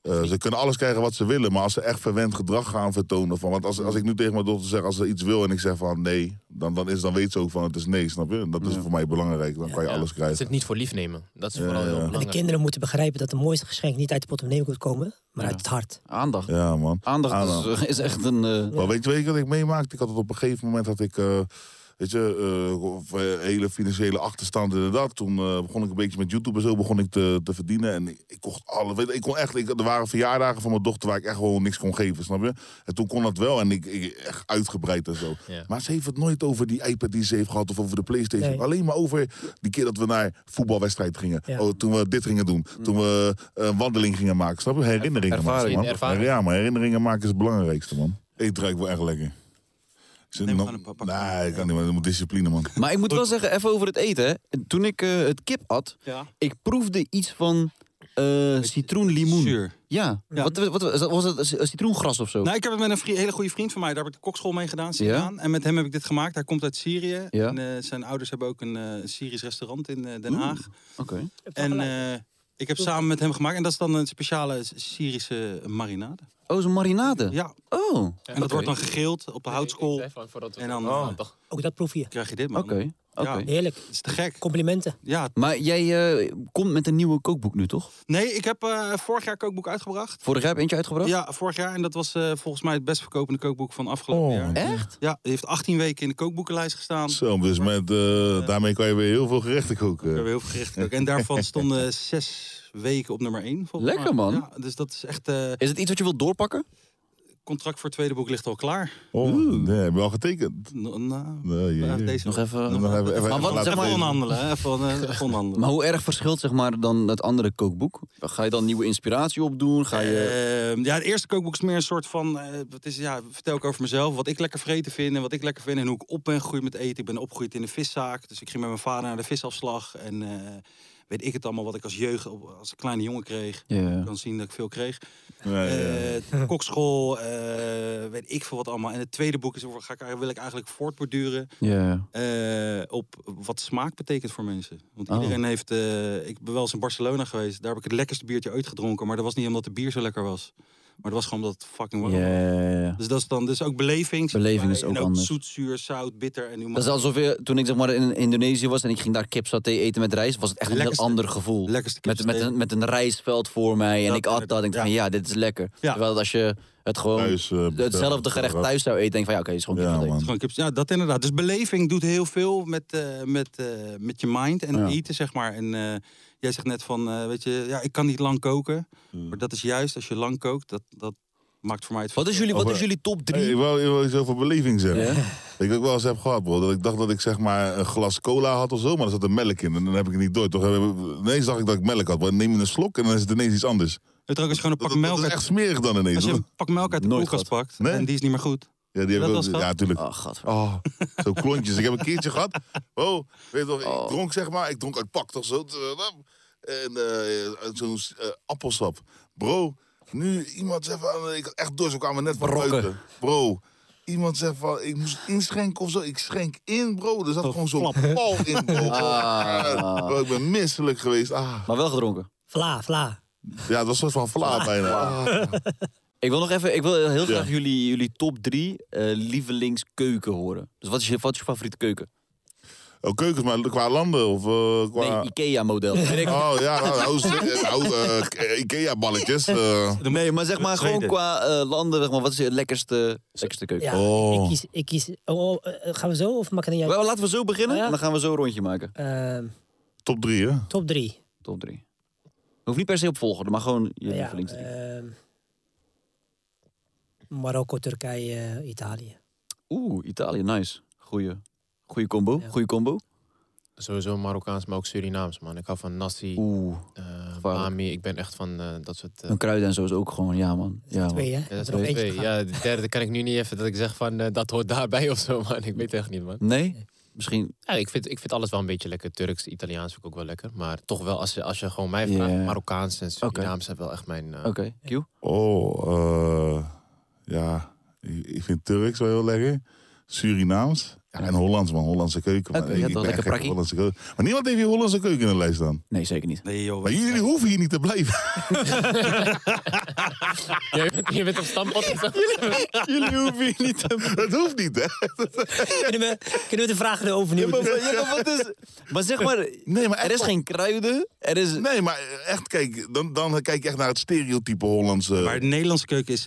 eh, ze kunnen alles krijgen wat ze willen, maar als ze echt verwend gedrag gaan vertonen... Van, want als, als ik nu tegen mijn dochter zeg, als ze iets wil en ik zeg van nee... dan, dan, is, dan weet ze ook van het is nee, snap je? En dat is voor mij belangrijk, dan kan je
Ja,
alles
Dat ze
krijgen.
het niet voor lief nemen. Dat is
Ja,
vooral
ja.
heel
En de
En de
belangrijk.
kinderen moeten begrijpen dat de mooiste geschenk niet uit de portemonnee moet komen, maar uit het hart.
Aandacht.
Ja, man.
Aandacht,
Aandacht.
Is, is echt een... eh,
Maar weet je, weet je wat ik meemaakte? Ik had het op een gegeven moment dat ik... eh, Weet je, eh, of, eh, hele financiële achterstand inderdaad. Toen eh, begon ik een beetje met YouTube en zo begon ik te, te verdienen. En ik, ik kocht alle... Weet je, ik kon echt, ik, er waren verjaardagen van mijn dochter waar ik echt gewoon niks kon geven, snap je? En toen kon dat wel en ik, ik echt uitgebreid en zo.
Ja.
Maar ze heeft het nooit over die iPad die ze heeft gehad of over de Playstation.
Nee.
Alleen maar over die keer dat we naar voetbalwedstrijd gingen.
Ja.
Oh, toen we dit gingen doen. Toen we eh, een wandeling gingen maken, snap je? Herinneringen
Ervaring,
maken, man.
ervaring.
Ja, maar herinneringen maken is het belangrijkste, man. Eet ruikt wel echt lekker. Ik zit
Neem
nog-
gewoon een paar pakken.
Nee, ik kan niet, maar dat moet discipline, man.
Maar ik moet wel zeggen, even over het eten. hè. Toen ik eh, het kip at,
Ja.
ik proefde iets van eh citroenlimoen.
Zuur.
Ja,
Ja.
Wat, wat, wat- was het een citroengras of zo?
Nou, ik heb het met een vri- hele goede vriend van mij. Daar heb ik de kokschool mee gedaan, Sinan. En met hem heb ik dit gemaakt. Hij komt uit Syrië.
Ja.
En, eh, zijn ouders hebben ook een eh, Syrisch restaurant in eh, Den Haag.
Oké.
En eh, ik heb samen met hem gemaakt. En dat is dan een speciale Syrische marinade.
Oh, zo'n marinade.
Ja.
Oh,
En dat wordt dan gegeeld op de houtskool. En dan eh,
Ook dat proef je.
krijg je dit, man.
oké. oké.
Ja.
Heerlijk.
Het is te gek.
Complimenten.
Ja.
Maar jij eh, komt met een nieuwe kookboek nu, toch?
Nee, ik heb eh, vorig jaar kookboek uitgebracht.
Vorig jaar heb je eentje uitgebracht?
Ja, vorig jaar. En dat was eh, volgens mij het best verkopende kookboek van afgelopen
Oh.
jaar.
Echt?
Ja, die heeft 18 weken in de kookboekenlijst gestaan.
Zo, dus met, eh, daarmee kan je weer heel veel gerechten
We
koken.
hebben heel veel gerechten ook. En daarvan stonden zes weken op nummer één. volgens
Lekker,
mij.
man.
Ja, dus dat is echt... eh
Is het iets wat je wilt doorpakken?
contract voor het tweede boek ligt al klaar.
Oh, nee, heb je al getekend?
Nou, nou,
Nee, jee.
deze
Nog even...
Dan hebben we even
maar wat,
laten
zeg maar,
lezen.
Even onderhandelen, hè. Even, eh, even onderhandelen.
Maar hoe erg verschilt zeg maar, dan het andere kookboek? Ga je dan nieuwe inspiratie opdoen? Ga je...
Ehm, ja, het eerste kookboek is meer een soort van... eh, wat is, ja, vertel ik over mezelf, wat ik lekker vreten vind... en wat ik lekker vind en hoe ik op ben gegroeid met eten. Ik ben opgegroeid in de viszaak, dus ik ging met mijn vader naar de visafslag. En eh, weet ik het allemaal wat ik als jeugd, als kleine jongen kreeg.
Ja.
Ik kan zien dat ik veel kreeg.
Nee, ja.
Eh, kokschool, eh, weet ik veel wat allemaal. En het tweede boek is, over- ga ik, wil ik eigenlijk voortborduren
Ja.
eh, op wat smaak betekent voor mensen. Want
Oh.
iedereen heeft, eh, ik ben wel eens in Barcelona geweest, daar heb ik het lekkerste biertje ooit gedronken. Maar dat was niet omdat de bier zo lekker was. Maar dat was gewoon omdat het fucking warm was.
Ja.
Dus dat is dan dus ook beleving. zit
Beleving
erbij.
is ook
en ook
anders.
zoet, zuur, zout, bitter en
Dat is alsof je, toen ik zeg maar in Indonesië was en ik ging daar kipsaté eten met rijst, was het echt
Lekkerste-
een heel ander gevoel.
lekkerste
met, met,
kipsaté.
een, met een rijstveld voor mij en
Dat
ik at dat en ik
inderdaad,
dacht van ja, dit is lekker.
Ja.
Terwijl als je het gewoon
Thuis, eh,
hetzelfde
bestellen,
gerecht thuis zou eten, denk ik van ja, oké, het is gewoon
Ja,
kipsaté.
man.
Gewoon kips- Ja, dat inderdaad. Dus beleving doet heel veel met, eh, met, eh, met je mind en eten, zeg maar. En eh, jij zegt net van, eh, weet je, ja, ik kan niet lang koken.
Mm.
Maar dat is juist, als je lang kookt, dat, dat maakt voor mij het
Wat is jullie, wat is jullie top drie?
Hey, ik wil, ik wil iets over beleving zeggen. Ik heb ook wel eens heb gehad, bro. Dat ik dacht dat ik zeg maar een glas cola had of zo, maar er zat er melk in. En dan heb ik het niet door. Toch eh, ineens dacht ik dat ik melk had. Maar dan neem je een slok en dan is het ineens iets anders.
Het is gewoon een
Dat,
pak
dat
melk
is
uit,
echt smerig dan ineens.
als je
hoor.
een pak melk uit de
Nooit
koelkast pakt
Nee.
en die is niet meer goed.
Ja, die heb
dat
ik
was
ook-
gehad?
Ja, tuurlijk.
Oh, god.
Oh, zo
Oh.
klontjes. Ik heb een keertje gehad. Oh, weet je toch, ik dronk zeg maar. Ik dronk uit pak toch zo. En eh, zo'n eh, appelsap. Bro, nu iemand zegt van... Ik had echt door, zo kwamen we net van buiten. Bro, iemand zegt van... Ik moest inschenken of zo. Ik schenk in, bro. Er zat gewoon zo'n pal in, bro. Ah, bro, Ik ben misselijk geweest. Ah.
Maar wel gedronken.
Vla, vla.
Ja, het was een soort van vla bijna. Ah.
Ik wil nog even, ik wil heel graag
Ja.
jullie, jullie top drie eh, lievelingskeuken horen. Dus wat is je, wat is je favoriete keuken?
Oh, keukens, maar qua landen of eh, qua...
Nee, Ikea-model.
Oh ja, nou, nou, zeg, nou, eh, Ikea-balletjes. eh.
Nee, maar zeg maar gewoon qua eh, landen, zeg maar, wat is je lekkerste, lekkerste keuken?
Ja,
Oh.
ik kies... Ik kies oh, oh, eh, gaan we zo of maak ik een
Wel, laten we zo beginnen
Oh, ja.
en dan gaan we zo een rondje maken.
Ehm
Top drie, hè?
top drie.
Top drie. Hoeft niet per se op volgorde, maar gewoon je
Ja,
lievelings drie.
ehm, Marokko, Turkije, eh, Italië.
Oeh, Italië, nice. Goeie, goeie combo, goeie combo.
Sowieso Marokkaans, maar ook Surinaams, man. Ik hou van nasi,
Oeh,
eh
gevaarlijk.
mami. Ik ben echt van eh, dat soort... eh,
een kruiden en zo is ook gewoon, ja man. Ja, man.
Twee, hè?
ja, dat
Er nog
zijn
eentje
twee.
te gaan.
Ja, de derde kan ik nu niet even dat ik zeg van eh, dat hoort daarbij of zo, man. Ik weet echt niet, man.
Nee? Misschien,
Ja, ik, vind, ik vind alles wel een beetje lekker. Turks, Italiaans vind ik ook wel lekker. Maar toch wel, als je, als je gewoon mij
Ja.
vraagt, Marokkaans en Surinaams zijn wel echt mijn... eh,
oké, Q.
Oh, eh, ja. Ik, ik vind Turks wel heel lekker. Surinaams. Ja, en Hollands, man. Hollandse keuken. Man.
Oké,
Ik-
ja,
ik
toch,
ben
lekker
gek op
prakkie.
Hollandse keuken. Maar niemand heeft hier Hollandse keuken in de lijst staan.
Nee, zeker niet.
Nee joh,
Maar jullie hoeven hier niet te blijven.
Jij bent, je bent op stampot.
jullie hoeven hier niet te blijven. Dat hoeft niet, hè?
Kunnen we, kunnen we de vragen erover nu?
Maar, wat is, maar zeg maar,
Nee, maar echt
er is
wel.
geen kruiden, er is...
Nee, maar echt, kijk, dan, dan kijk je echt naar het stereotype Hollandse.
maar de Nederlandse keuken is,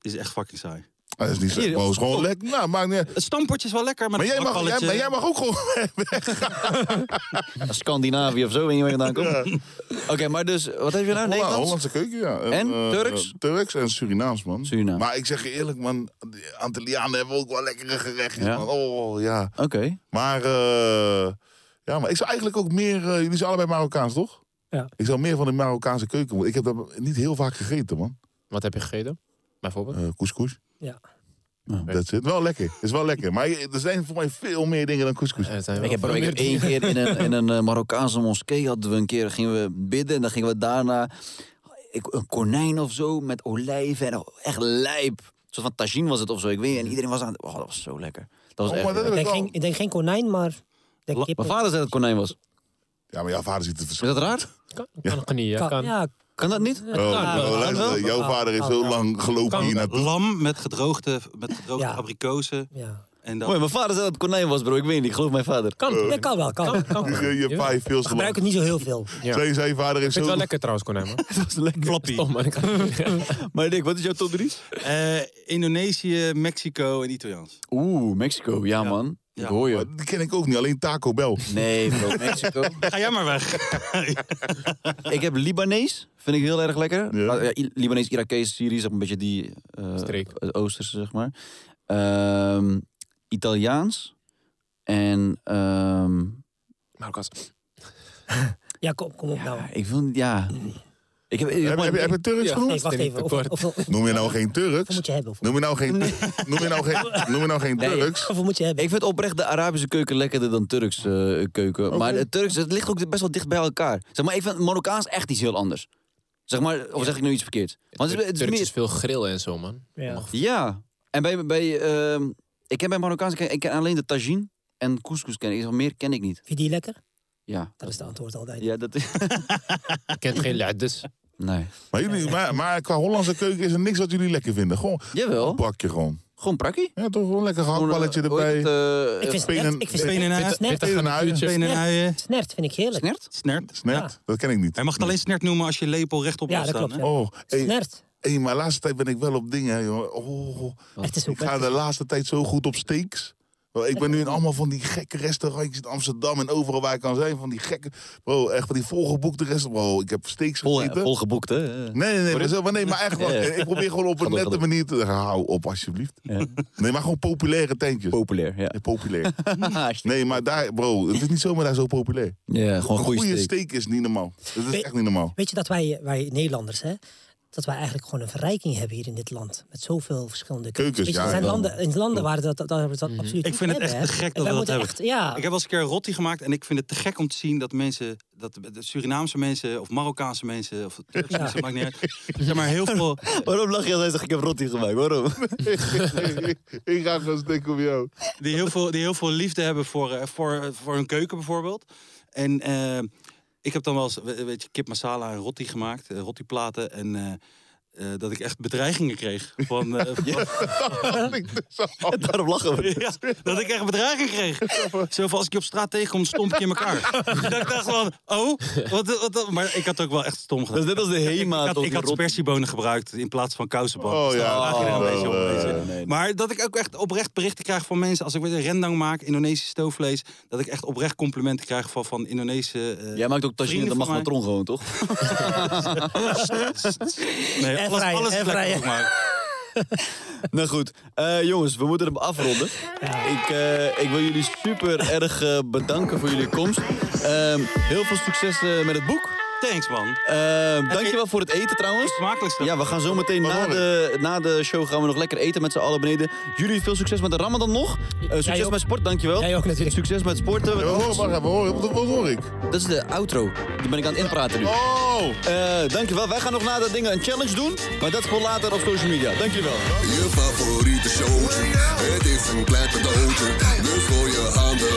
is echt fucking saai.
Ah, dat is niet zo.
Hier, Oh.
maar het is gewoon lekker. Nou, maakt niet uit.
Het stamppotje is wel lekker, maar,
Maar jij,
dat
mag, jij,
bakballetje-
maar jij mag ook gewoon.
Scandinavië of zo, weet je waar je vandaan komt. Oké, maar dus, wat heb je nou?
Holla-
Nederlands?
Hollandse keuken, ja.
En
eh,
Turks?
eh, Turks en Surinaams, man.
Surinaams.
Maar ik zeg je eerlijk, man. De Antillianen hebben ook wel lekkere gerechtjes,
Ja?
man. Oh, ja.
Oké.
Maar, eh, ja, maar ik zou eigenlijk ook meer... eh, jullie zijn allebei Marokkaans, toch?
Ja.
Ik zou meer van de Marokkaanse keuken moeten. Ik heb dat niet heel vaak gegeten, man.
Wat heb je gegeten? Bijvoorbeeld?
Eh couscous,
Ja.
dat zit. Wel lekker. Is wel lekker. Maar je- er zijn voor mij veel meer dingen dan couscous.
Eh, er zijn wel
Ik heb,
veel
ik
meer
heb één keer in een, in een eh, Marokkaanse moskee hadden we een keer gingen we bidden en dan gingen we daarna ik, een konijn of zo met olijven en oh, echt lijp. Een soort van tagine was het of zo. Ik weet niet. En iedereen was aan. het- Oh, dat was zo lekker. Dat was
Oh,
echt.
maar dat
lekker.
heb
Ik
ik
denk, geen,
wel.
ik denk geen konijn, maar... ik Denk kippen.
Mijn vader zei dat het konijn was.
Ja, maar jouw vader ziet het
Is
verschil.
dat raar?
Kan, kan het niet, ja.
Kan,
Kan.
ja,
Kan Nou, dat niet?
Oh,
kan
luister,
wel.
jouw vader heeft zo lang gelopen hier naartoe.
Lam met gedroogde, met gedroogde
Ja.
abrikozen.
ja.
En dan
Mooi, mijn vader zei dat het konijn was, bro. Ik weet niet, ik geloof mijn vader.
Kan, ja, kan wel, kan. wel.
Je, je pa heeft veel
We gebruiken
gelopen.
het niet zo heel veel.
Ja.
Zijn, zijn vader heeft
Ik vind het
zo...
wel lekker trouwens, konijn, man.
Dat was lekker.
Flappy.
Stom, man. Ik kan-
Maar Dick, wat is jouw top 3?
Eh, Indonesië, Mexico en Italiaans.
Oeh, Mexico. Ja, man.
Ja.
Ik hoor je.
Maar Die ken ik ook niet, alleen Taco Bell.
Nee, bro, Mexico.
Ah,
Ga jij maar weg.
ik heb Libanees, vind ik heel erg lekker.
Ja.
Maar, ja, I- Libanees, Irakees, Syrië, zeg maar een beetje die eh,
Streek.
het Oosterse, zeg maar. Ehm, Italiaans. En ehm,
Marokkaans.
Ja, kom, kom op nou.
ik vind, ja. Ik heb,
Heb, heb, heb je Turks genoemd?
Nee, wacht
vind ik
even. Of,
tekort.
of, of-
Noem je nou geen
of
Turks?
moet je hebben? Of,
Noem je nou geen, noem je nou geen, noem je nou geen Turks?
of moet je hebben?
ik vind oprecht de Arabische keuken lekkerder dan Turks eh, keuken. Maar de Turks, het ligt ook best wel dicht bij elkaar. Zeg maar, ik vind Marokkaans echt iets heel anders. Zeg maar, of zeg ik nu iets verkeerd? Want het, is- het is
Turks
meer,
is veel grillen en zo, man.
Ja.
Ja, en bij, bij ehm, ik ken bij Marokkaans, ik ken, ik ken alleen de tagine en couscous ken ik. Zeg, Meer ken ik niet.
Vind je die lekker?
Ja,
Dat is het antwoord altijd.
ja dat is.
Ik kent geen luiders.
Nee.
Maar, jullie, maar, maar qua Hollandse keuken is er niks wat jullie lekker vinden. Gewoon
Jawel.
een bakje gewoon.
Gewoon prakkie.
Ja, toch gewoon lekker gehaktballetje
Gewoon, eh, hoe
erbij.
heet het, eh,
Ik vind
Spenen-
snert, ik vind
Spenen en uien.
snert,
eh,
snert,
Tegen een huisje.
Benen en uien.
snert vind ik heerlijk.
Snert?
Snert.
Snert? Dat ken ik niet.
Hij mag het alleen snert noemen als je lepel rechtop
Ja,
wil
dat
staan.
klopt.
hè?
ja.
Oh, hey,
Snert.
hey, maar laatste tijd ben ik wel op dingen, hè, jongen. Oh, oh.
Het is ook
ik ga
best.
de laatste tijd zo goed op steaks. Wel, Ik ben nu in allemaal van die gekke restaurantjes in Amsterdam en overal waar ik kan zijn. Van die gekke, bro, echt van die volgeboekte restaurants. Bro, ik heb steaks
Vol,
gegeten.
vol geboekt, hè?
Nee, nee, nee, maar, zo- maar nee, maar echt wel.
Ja, ja.
Ik probeer gewoon op
Ga
een
door,
nette
ga door.
manier te Hou op, alsjeblieft. Nee, maar gewoon populaire tentjes.
Populair, ja.
Nee, populair.
Hartstikke-
Nee, maar daar, bro, het is niet zomaar daar zo populair.
ja, gewoon
een
goede
goede
steek.
steak is niet normaal. Dat is
Weet-
echt niet normaal.
Weet je dat wij, wij Nederlanders, hè? dat wij eigenlijk gewoon een verrijking hebben hier in dit land. Met zoveel verschillende
Keukens,
Weet je,
ja, Mm-hmm.
Er zijn
wel.
landen, in landen waar dat, dat, dat, we dat absoluut
Ik vind het echt
niet
te
hebben, hè.
gek
En
dat we
wij
dat
moeten
hebben.
echt- ja,
Ik heb wel eens een keer een rotti gemaakt en ik vind het te gek om te zien dat mensen, dat de Surinaamse mensen of Marokkaanse mensen of Turkse
Ja.
mensen, maakt niet uit. Zeg maar heel veel.
Waarom lach je als hij zegt ik heb rotti gemaakt? Waarom?
ik ga gewoon stikken op jou.
die heel veel, die heel veel liefde hebben voor, eh, voor, eh, voor hun keuken bijvoorbeeld. En eh, ik heb dan wel eens, we- weet je, kip masala en rotti gemaakt, eh, rottiplaten. En eh, eh, dat ik echt bedreigingen kreeg. Van, eh, van-
dus Daarom lachen we.
ja, dat ik echt bedreigingen kreeg. Zo van, als ik je op straat tegenkom, stomp ik je in elkaar. dat ik dacht van, oh, wat, wat, wat- maar ik had ook wel echt stom gedaan.
Dat is net als de HEMA.
Ik had,
tot
ik
die
had
rotti-
persiebonen gebruikt in plaats van kousenbonen.
Oh
Dus
ja,
daar laag je er een
oh,
beetje op,
eh,
weet je.
nee, nee.
Maar dat ik ook echt oprecht berichten krijg van mensen... als ik weer een rendang maak, Indonesisch stoofvlees... dat ik echt oprecht complimenten krijg van, van Indonesische... eh,
Jij maakt ook tagine
vrienden
de
van mij.
magnetron gewoon, toch?
eh, Nee, alles,
Efraïm,
alles is lekker
Efraïm.
ook maar.
Nou goed, Eh, jongens, we moeten hem afronden. Ik, eh, ik wil jullie super erg eh, bedanken voor jullie komst. Ehm, heel veel succes eh, met het boek.
Thanks, man.
Ehm dankjewel voor het eten trouwens.
Smakelijk
Ja, we gaan zo meteen na de, na de show gaan we nog lekker eten met z'n allen beneden. Jullie veel succes met de Ramadan nog. Eh,
Jij
succes
ook.
met sport, dankjewel.
Jij ook natuurlijk.
Succes met sporten.
Ja, we horen, wacht even, we horen, wat, wat hoor ik?
Dat is de outro. Die ben ik aan het inpraten nu.
Oh!
Eh, dankjewel. Wij gaan nog na dat dingen een challenge doen. Maar dat voor later op social media. Dankjewel.
Je favoriete showtje, het is een klein cadeautje. Dus gooi je handen